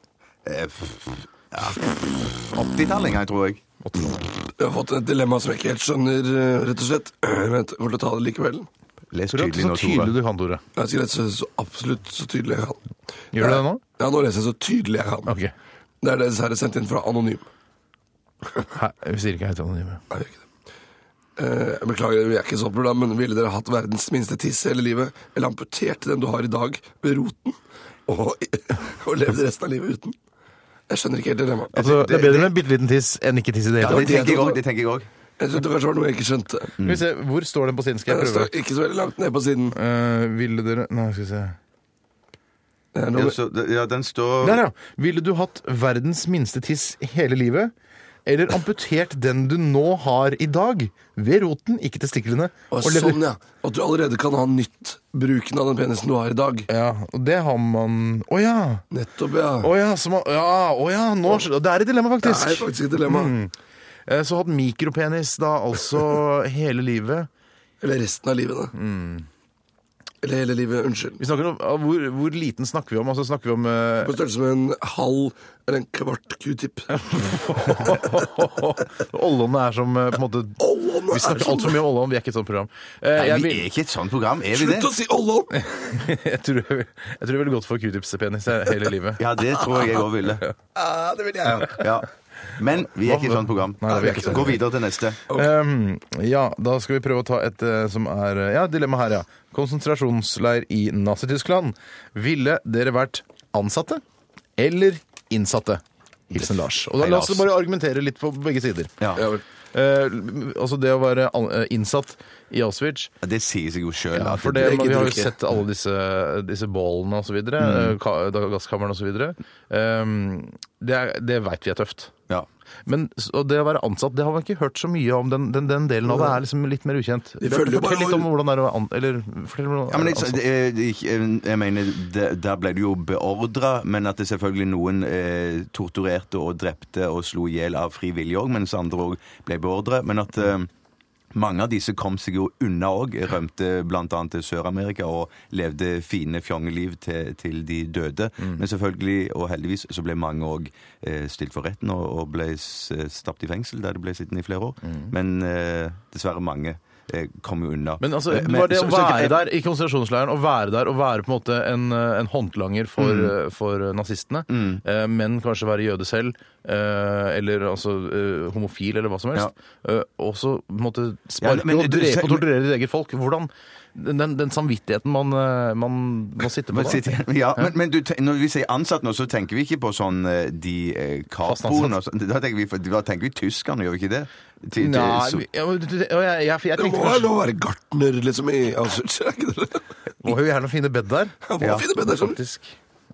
[SPEAKER 7] Eh, f- ja. 80-tallinga, tror jeg.
[SPEAKER 18] Jeg har fått et dilemma som jeg ikke helt skjønner, eh, rett og slett. <clears throat> Vent, jeg får ta det likevel.
[SPEAKER 7] Les
[SPEAKER 18] Tror du at det er så tydelig
[SPEAKER 1] du kan, Tore.
[SPEAKER 18] Jeg skal lese så absolutt så tydelig jeg kan. Eh,
[SPEAKER 1] Gjør du det nå?
[SPEAKER 18] Ja, nå leser jeg så tydelig jeg kan. Det er det dessverre sendt inn fra Anonym.
[SPEAKER 1] Hei, vi sier ikke hei til anonyme.
[SPEAKER 18] Eh, jeg beklager, vi er ikke så program, men ville dere hatt verdens minste tiss hele livet, eller amputert den du har i dag, ved roten, og, <laughs> og levd resten av livet uten? Jeg skjønner ikke helt dilemmaet.
[SPEAKER 1] Altså, det er bedre med en bitte liten tiss enn ikke tiss i det
[SPEAKER 18] Ja,
[SPEAKER 1] hele
[SPEAKER 18] det tenker jeg også,
[SPEAKER 7] det tenker jeg òg.
[SPEAKER 18] Jeg syntes det kanskje var noe jeg ikke skjønte.
[SPEAKER 1] Skal Mm. vi se, Hvor står
[SPEAKER 7] Eh,
[SPEAKER 1] den på siden? Skal jeg
[SPEAKER 18] Den
[SPEAKER 1] prøve?
[SPEAKER 18] står ikke så veldig langt ned på siden.
[SPEAKER 1] ville dere Nei, skal vi se.
[SPEAKER 7] Ja, så, ja, den står
[SPEAKER 1] Eh, Der, ja. Ville du hatt verdens minste tiss hele livet? Eller amputert den du nå har i dag, ved roten, ikke testiklene.
[SPEAKER 18] Og
[SPEAKER 1] lever-
[SPEAKER 18] sånn, ja. At du allerede kan ha nytt bruken av den penisen du har i dag.
[SPEAKER 1] Ja, og det har man Å ja!
[SPEAKER 18] Nettopp, ja.
[SPEAKER 1] Å ja, så man, ja, å ja nå, skjø- det er et dilemma, faktisk.
[SPEAKER 18] Det er faktisk et dilemma.
[SPEAKER 1] Mm. Eh, Så hatt mikropenis da altså hele livet. Mm.
[SPEAKER 18] Eller resten av livet, da. Eller hele livet. Unnskyld.
[SPEAKER 1] Vi snakker om, ah, hvor, hvor liten snakker vi om? Altså snakker vi om eh,
[SPEAKER 18] På størrelse med en halv eller en kvart q-tip.
[SPEAKER 1] Ollånene er som eh, på en måte Vi snakker altfor mye om Ollån, vi er ikke et sånt program. Eh,
[SPEAKER 7] Nei,
[SPEAKER 1] jeg
[SPEAKER 7] vi
[SPEAKER 1] vil-
[SPEAKER 7] er ikke et sånt program, er vi det?
[SPEAKER 1] Slutt å si
[SPEAKER 18] Ollån!
[SPEAKER 1] <laughs> jeg tror jeg, vil- jeg tror jeg ville gått for q-tips-penis <laughs> jeg, hele livet.
[SPEAKER 7] Ja, det tror jeg jeg òg
[SPEAKER 1] <laughs>
[SPEAKER 7] ville.
[SPEAKER 18] Ah, det vil jeg.
[SPEAKER 7] Ja, ja. Men vi er ikke et sånt program.
[SPEAKER 1] Nei, vi er ikke sånn.
[SPEAKER 7] Gå videre til neste.
[SPEAKER 1] Um, ja, da skal vi prøve å ta et eh, som er eh, Ja, dilemma her, ja. Konsentrasjonsleir i Nazi-Tyskland. Ville dere vært ansatte eller innsatte? Hilsen Lars. Og da,
[SPEAKER 20] Hei,
[SPEAKER 1] la oss
[SPEAKER 20] Lars.
[SPEAKER 1] bare argumentere litt for begge sider. Eh, altså det å være an- eh, innsatt i Auschwitz
[SPEAKER 7] Det sier seg jo sjøl.
[SPEAKER 1] Ja, for det, vi har jo sett alle disse, disse bålene osv. Eh,
[SPEAKER 7] Mm.
[SPEAKER 1] Gasskamrene osv. Ehm, Det, er- det veit vi er tøft. Men s- og det å være ansatt det har man ikke hørt så mye om. Den, den, den delen av det er liksom litt mer ukjent.
[SPEAKER 7] Vi følger jo bare
[SPEAKER 1] Fortell litt om hvordan det er å være an... Eller fortell om
[SPEAKER 7] Ja, men jeg,
[SPEAKER 1] ansatt.
[SPEAKER 7] det er- det er ikke- jeg mener, det, der ble du jo beordra, men at det selvfølgelig noen eh, torturerte og drepte og slo i hjel av fri vilje òg, mens andre òg ble beordra. Men at eh, mange av disse kom seg jo unna òg. Rømte bl.a. til Sør-Amerika og levde fine fjongeliv til, til de døde.
[SPEAKER 1] Mm.
[SPEAKER 7] Men selvfølgelig, og heldigvis, så ble mange òg eh, stilt for retten og, og ble s- stappet i fengsel, der de ble sittende i flere år. Men eh, dessverre mange eh, kom jo unna.
[SPEAKER 1] Mm. Men altså,
[SPEAKER 7] Eh, men-
[SPEAKER 1] bare det å
[SPEAKER 7] så- så-
[SPEAKER 1] være der i konsentrasjonsleiren, å være der og være på en måte en, eh, en håndlanger for,
[SPEAKER 7] Mm.
[SPEAKER 1] eh, for nazistene, eh, men kanskje være jøde selv, eh, eller altså eh, homofil, eller hva som helst, eh, og så på en måte
[SPEAKER 7] Ja,
[SPEAKER 1] sparke
[SPEAKER 7] men
[SPEAKER 1] og
[SPEAKER 7] du-
[SPEAKER 1] drepe
[SPEAKER 7] se-
[SPEAKER 1] og torturere ditt eget folk. Hvordan den, den, den samvittigheten man, eh, man må sitte på
[SPEAKER 7] Men
[SPEAKER 1] da.
[SPEAKER 7] sitter- <laughs> Ja, men, men du, te- når vi sier ansatt nå, så tenker vi ikke på sånn eh, de eh, kapoen og sånn. Da tenker vi, da tenker vi tyskerne, gjør vi ikke det? Til- til-
[SPEAKER 1] Nei,
[SPEAKER 7] så-
[SPEAKER 1] vi- ja, men du- du- ja, jeg, jeg, jeg
[SPEAKER 18] Det
[SPEAKER 1] tenkte
[SPEAKER 18] må
[SPEAKER 1] kanskje-
[SPEAKER 18] jo lov å være gartner, liksom, i Auschwitz. er ikke det?
[SPEAKER 1] Må jo gjerne finne bed der.
[SPEAKER 18] må finne bed der, sånn. skjønner du.
[SPEAKER 1] faktisk.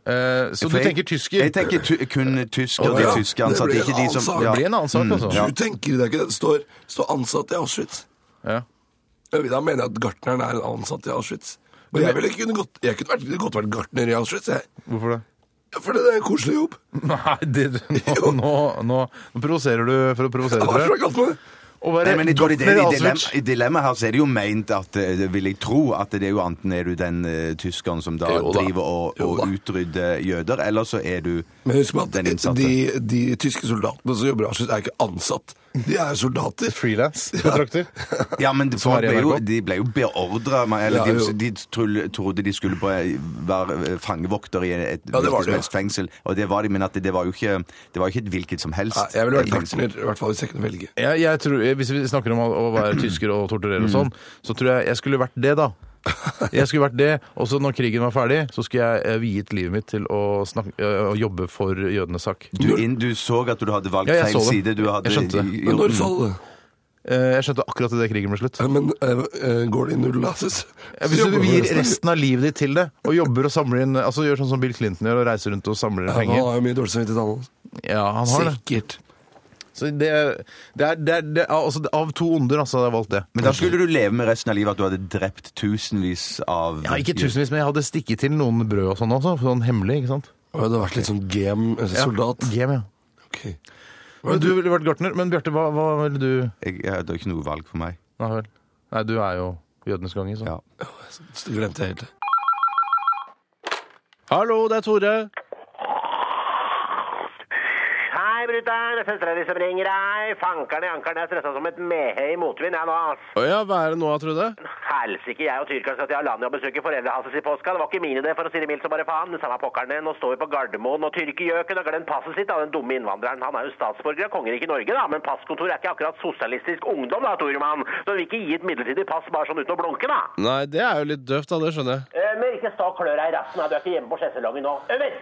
[SPEAKER 1] Eh, så
[SPEAKER 7] For
[SPEAKER 1] du
[SPEAKER 7] jeg-
[SPEAKER 1] tenker tysker?
[SPEAKER 7] Jeg tenker ty kun tysker.
[SPEAKER 18] Å,
[SPEAKER 7] de
[SPEAKER 18] ja.
[SPEAKER 7] tyske ansatte,
[SPEAKER 18] Det blir en
[SPEAKER 7] ikke de
[SPEAKER 18] annen
[SPEAKER 7] som
[SPEAKER 18] sak.
[SPEAKER 7] ja. Mm,
[SPEAKER 1] altså.
[SPEAKER 7] ja.
[SPEAKER 18] Du tenker det er ikke det. Det står, står ansatt i Auschwitz.
[SPEAKER 1] Ja.
[SPEAKER 18] Da mener jeg at gartneren er en ansatt i Auschwitz. Og
[SPEAKER 1] Men-
[SPEAKER 18] jeg ville ikke kunne godt, jeg kunne vært, godt vært gartner i Auschwitz, jeg.
[SPEAKER 1] Hvorfor det?
[SPEAKER 18] Ja, For det er en koselig jobb.
[SPEAKER 1] Nei, det,
[SPEAKER 7] <laughs>
[SPEAKER 1] nå, nå, nå, nå provoserer du for å provosere,
[SPEAKER 18] Hva er
[SPEAKER 1] tror
[SPEAKER 18] det som er
[SPEAKER 1] jeg.
[SPEAKER 18] galt med det?
[SPEAKER 1] Å være
[SPEAKER 7] Nei, men jeg tror det, er det,
[SPEAKER 1] gartner i
[SPEAKER 7] i, dilemma,
[SPEAKER 1] Auschwitz.
[SPEAKER 7] I dilemmaet her så er det jo meint at eh, det vil jeg tro at det er jo enten er du den eh, tyskeren som da,
[SPEAKER 18] Jo da.
[SPEAKER 7] driver og, og utrydder jøder, eller så er du
[SPEAKER 18] Men husk på at
[SPEAKER 7] den innsatte.
[SPEAKER 18] de, de tyske soldatene som jobber i Auschwitz, er ikke ansatt. De er soldater. <laughs>
[SPEAKER 1] Freelance-kontrakter.
[SPEAKER 7] Ja, men
[SPEAKER 18] Som
[SPEAKER 7] folk
[SPEAKER 18] er i
[SPEAKER 7] ble jo,
[SPEAKER 18] NRK.
[SPEAKER 7] de ble jo beordra Eller
[SPEAKER 18] Ja, jo.
[SPEAKER 7] de, de trull- trodde de skulle på, være eh, fangevokter i et
[SPEAKER 18] var
[SPEAKER 7] hvilket
[SPEAKER 18] det,
[SPEAKER 7] som helst fengsel. Og det var de, men at det, det var jo ikke, det var jo ikke et hvilket som helst
[SPEAKER 18] Nei, jeg ville vært
[SPEAKER 7] fengsel.
[SPEAKER 18] gartner, i hvert fall hvis jeg kunne velge.
[SPEAKER 1] Jeg, jeg tror, eh, hvis vi snakker om å å være tysker og torturere
[SPEAKER 7] Mm.
[SPEAKER 1] og sånn, så tror jeg jeg skulle vært det, da. Jeg skulle vært det, og så når krigen var ferdig, så skulle jeg eh, viet livet mitt til å, snakke, eh, å jobbe for jødenes sak.
[SPEAKER 7] Du, inn, du så at du hadde valgt
[SPEAKER 1] Ja, jeg
[SPEAKER 7] feil
[SPEAKER 1] så det.
[SPEAKER 7] side. Du hadde,
[SPEAKER 1] Jeg skjønte det.
[SPEAKER 7] i-
[SPEAKER 1] Men når
[SPEAKER 7] Mm.
[SPEAKER 1] så du det? Eh, Jeg skjønte akkurat idet krigen ble slutt.
[SPEAKER 18] Men eh, går det i null lasis?
[SPEAKER 1] Ja, hvis du gir resten av livet ditt til det, og jobber og samler inn altså Gjør sånn som Bill Clinton gjør, og reiser rundt og samler inn
[SPEAKER 18] Ja, han
[SPEAKER 1] penger.
[SPEAKER 18] har jo mye dårlig samvittighet, han også.
[SPEAKER 1] Ja, han har det.
[SPEAKER 18] Sikkert.
[SPEAKER 1] Så det, det er, det er, det er altså, Av to onder, altså, hadde jeg valgt det.
[SPEAKER 7] Men da skulle du leve med resten av livet at du hadde drept tusenvis av
[SPEAKER 1] Ja, ikke tusenvis, men jeg hadde stikket til noen brød og sånn også. Sånn hemmelig, ikke sant?
[SPEAKER 18] Og jeg hadde vært litt sånn GM-soldat.
[SPEAKER 1] Ja, GM, ja. Men du ville vært gartner. Men Bjarte, hva, hva ville du
[SPEAKER 7] Jeg, jeg hadde ikke noe valg for meg.
[SPEAKER 1] Nei vel. Nei, du er jo jødenes gange, så.
[SPEAKER 18] Det glemte jeg helt.
[SPEAKER 13] Hallo, det er Tore.
[SPEAKER 21] Hei, brutter'n. Det er søstera di som ringer. Hei. Fankeren i ankeren. Jeg er stressa som et mehe i motvind, jeg nå, ass.
[SPEAKER 13] Å ja, hva er det nå, Trude?
[SPEAKER 21] Helsike, jeg og tyrkeren skal til Alanya og besøke foreldrene hans i påska. Det var ikke min idé, for å si det mildt som bare faen. Men samme pokkeren det. Nå står vi på Gardermoen, og tyrkergjøken har glemt passet sitt av den dumme innvandreren. Han er jo statsborger av kongeriket Norge, da, men passkontor er ikke akkurat sosialistisk ungdom, da, Tormann. Så vi vil ikke gi et midlertidig pass bare sånn uten å blunke, da.
[SPEAKER 13] Nei, det er jo litt døvt, da. Det skjønner jeg.
[SPEAKER 21] Eh, Rømmer, ikke stå og klør deg i rassen. Du er ikke hjemme på sjeselongen nå. Over!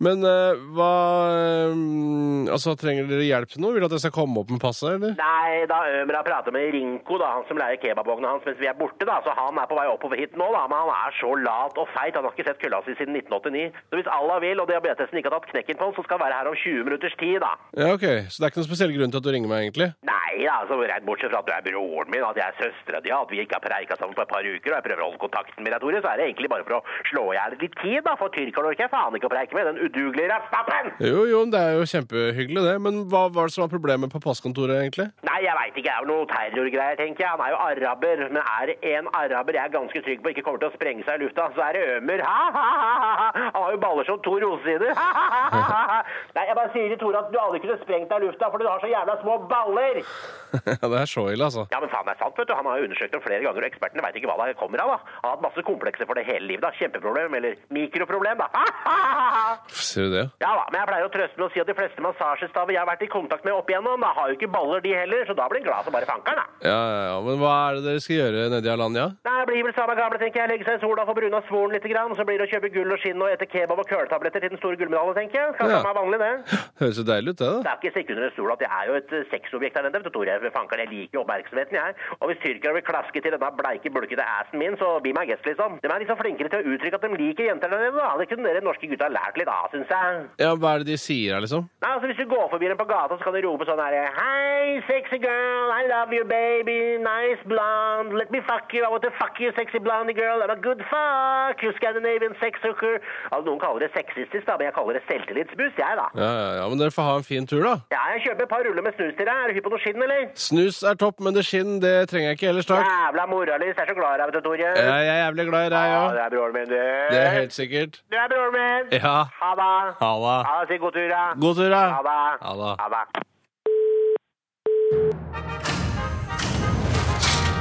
[SPEAKER 13] Men eh, hva eh, Altså, trenger dere hjelp til noe? Vil dere at jeg skal komme opp med passet, eller?
[SPEAKER 21] Nei, da Ømer har pratet med Rinko, da, han som leier kebabvogna hans mens vi er borte, da, så han er på vei oppover hit nå, da, men han er så lat og feit, han har ikke sett kølla si siden 1989. Så hvis Allah vil, og diabetesen ikke har tatt knekken på han, så skal han være her om 20 minutters tid, da.
[SPEAKER 13] Ja, ok. Så det er ikke noen spesiell grunn til at du ringer meg, egentlig?
[SPEAKER 21] Nei, da, altså, rett bortsett fra at du er broren min, at jeg er søstera di, at vi ikke har preika sammen på et par uker, og jeg prøver å holde kontakten med deg, Tore, så er det egentlig bare for å slå i hjel litt tid, da, for tyrkeren orker jeg faen ikke å preike med, den udugelige rastappen!
[SPEAKER 13] Jo, jo, det er jo kjempehyggelig, det. Men hva var det som var problemet på passkontoret, egentlig?
[SPEAKER 21] Nei, jeg veit ikke. Det er jo noe terrorgreier, tenker jeg. Han er jo araber. Men er det en araber jeg er ganske trygg på ikke kommer til å sprenge seg i lufta, så er det Ømer. Ha, ha, ha, ha, ha. Han har jo baller som to rosesider. Ha, ha, ha, ha, ha, ha. Nei, jeg bare sier til Tore at du aldri kunne sprengt deg i lufta fordi du har så jævla små baller.
[SPEAKER 13] ja, det er så ille, altså.
[SPEAKER 21] Ja, men faen, det er sant, vet du. Han har jo undersøkt det flere ganger, og ekspertene veit ikke hva det kommer av, da. Han har hatt masse komplekser for det hele livet, da. Kjempeproblem. Eller mikroproblem, da. Ha, ha, ha, ha.
[SPEAKER 13] Ser du det?
[SPEAKER 21] Ja da, men jeg pleier å trøste med å si at de fleste massasjestaver jeg har vært i kontakt med opp igjennom, da har jo ikke baller de heller, så da blir en glad som bare fankeren, da.
[SPEAKER 13] Ja, ja, ja. Men hva er det dere skal gjøre nedi Alanya?
[SPEAKER 21] Nei, det blir vel samme gamle, tenker jeg. Legge seg i sola, få bruna svoren litt, grann, så blir det å kjøpe gull og skinn og ete kebab og køletabletter til den store gullmedaljen, tenker jeg. Kanskje
[SPEAKER 13] Ja.
[SPEAKER 21] ja. er vanlig, det.
[SPEAKER 13] Høres jo deilig ut, det,
[SPEAKER 21] Det
[SPEAKER 13] da.
[SPEAKER 21] er ikke stikk under en stol at jeg er jo et eh, sexobjekt her nede, vet du, Tore. Jeg, fanker, jeg liker jo oppmerksomheten, jeg. Og hvis tyrkere vil klaske til denne bleike, bulkete assen min, så be my guest, liksom. De er liksom flinkere til å uttrykke at de liker jenter der nede, da. Det kunne dere norske gutta lært litt av, syns jeg.
[SPEAKER 13] Ja, hva er det de sier her, liksom?
[SPEAKER 21] Nei, altså Hvis du går forbi dem på gata, så kan du rope sånn her Hei, sexy girl, I love you, baby. Nice blonde. Let me fuck you. I want to fuck you, sexy blondie girl. I'm a good fuck. You Scandinavian sex hooker. Altså, Noen kaller det sexistisk, da, men jeg kaller det selvtillitsbuss, jeg, da.
[SPEAKER 13] Ja, ja, ja, men dere får ha en fin tur, da.
[SPEAKER 21] Ja, jeg kjøper et par ruller med snus til deg. Er du hypp på noe skinn, eller?
[SPEAKER 13] Snus er topp, men det skinn det trenger jeg ikke ellers, takk.
[SPEAKER 21] Jævla moralist. Jeg er så glad i deg, vet du, Torje.
[SPEAKER 13] Ja, jeg er jævlig glad i deg
[SPEAKER 21] Ja,
[SPEAKER 13] òg.
[SPEAKER 21] det er broren min, du.
[SPEAKER 13] Det er helt sikkert.
[SPEAKER 21] Du er broren min.
[SPEAKER 13] Ja.
[SPEAKER 21] Ha det.
[SPEAKER 13] Ha det.
[SPEAKER 21] Ha det. Si god tur, da.
[SPEAKER 13] God tur, da.
[SPEAKER 21] Ha det.
[SPEAKER 13] Ha det.
[SPEAKER 21] Ha det.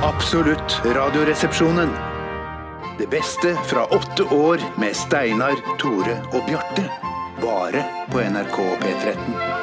[SPEAKER 12] Absolutt radioresepsjonen. Det beste fra åtte år med Steinar, Tore og Bjarte. Bare på NRK P13.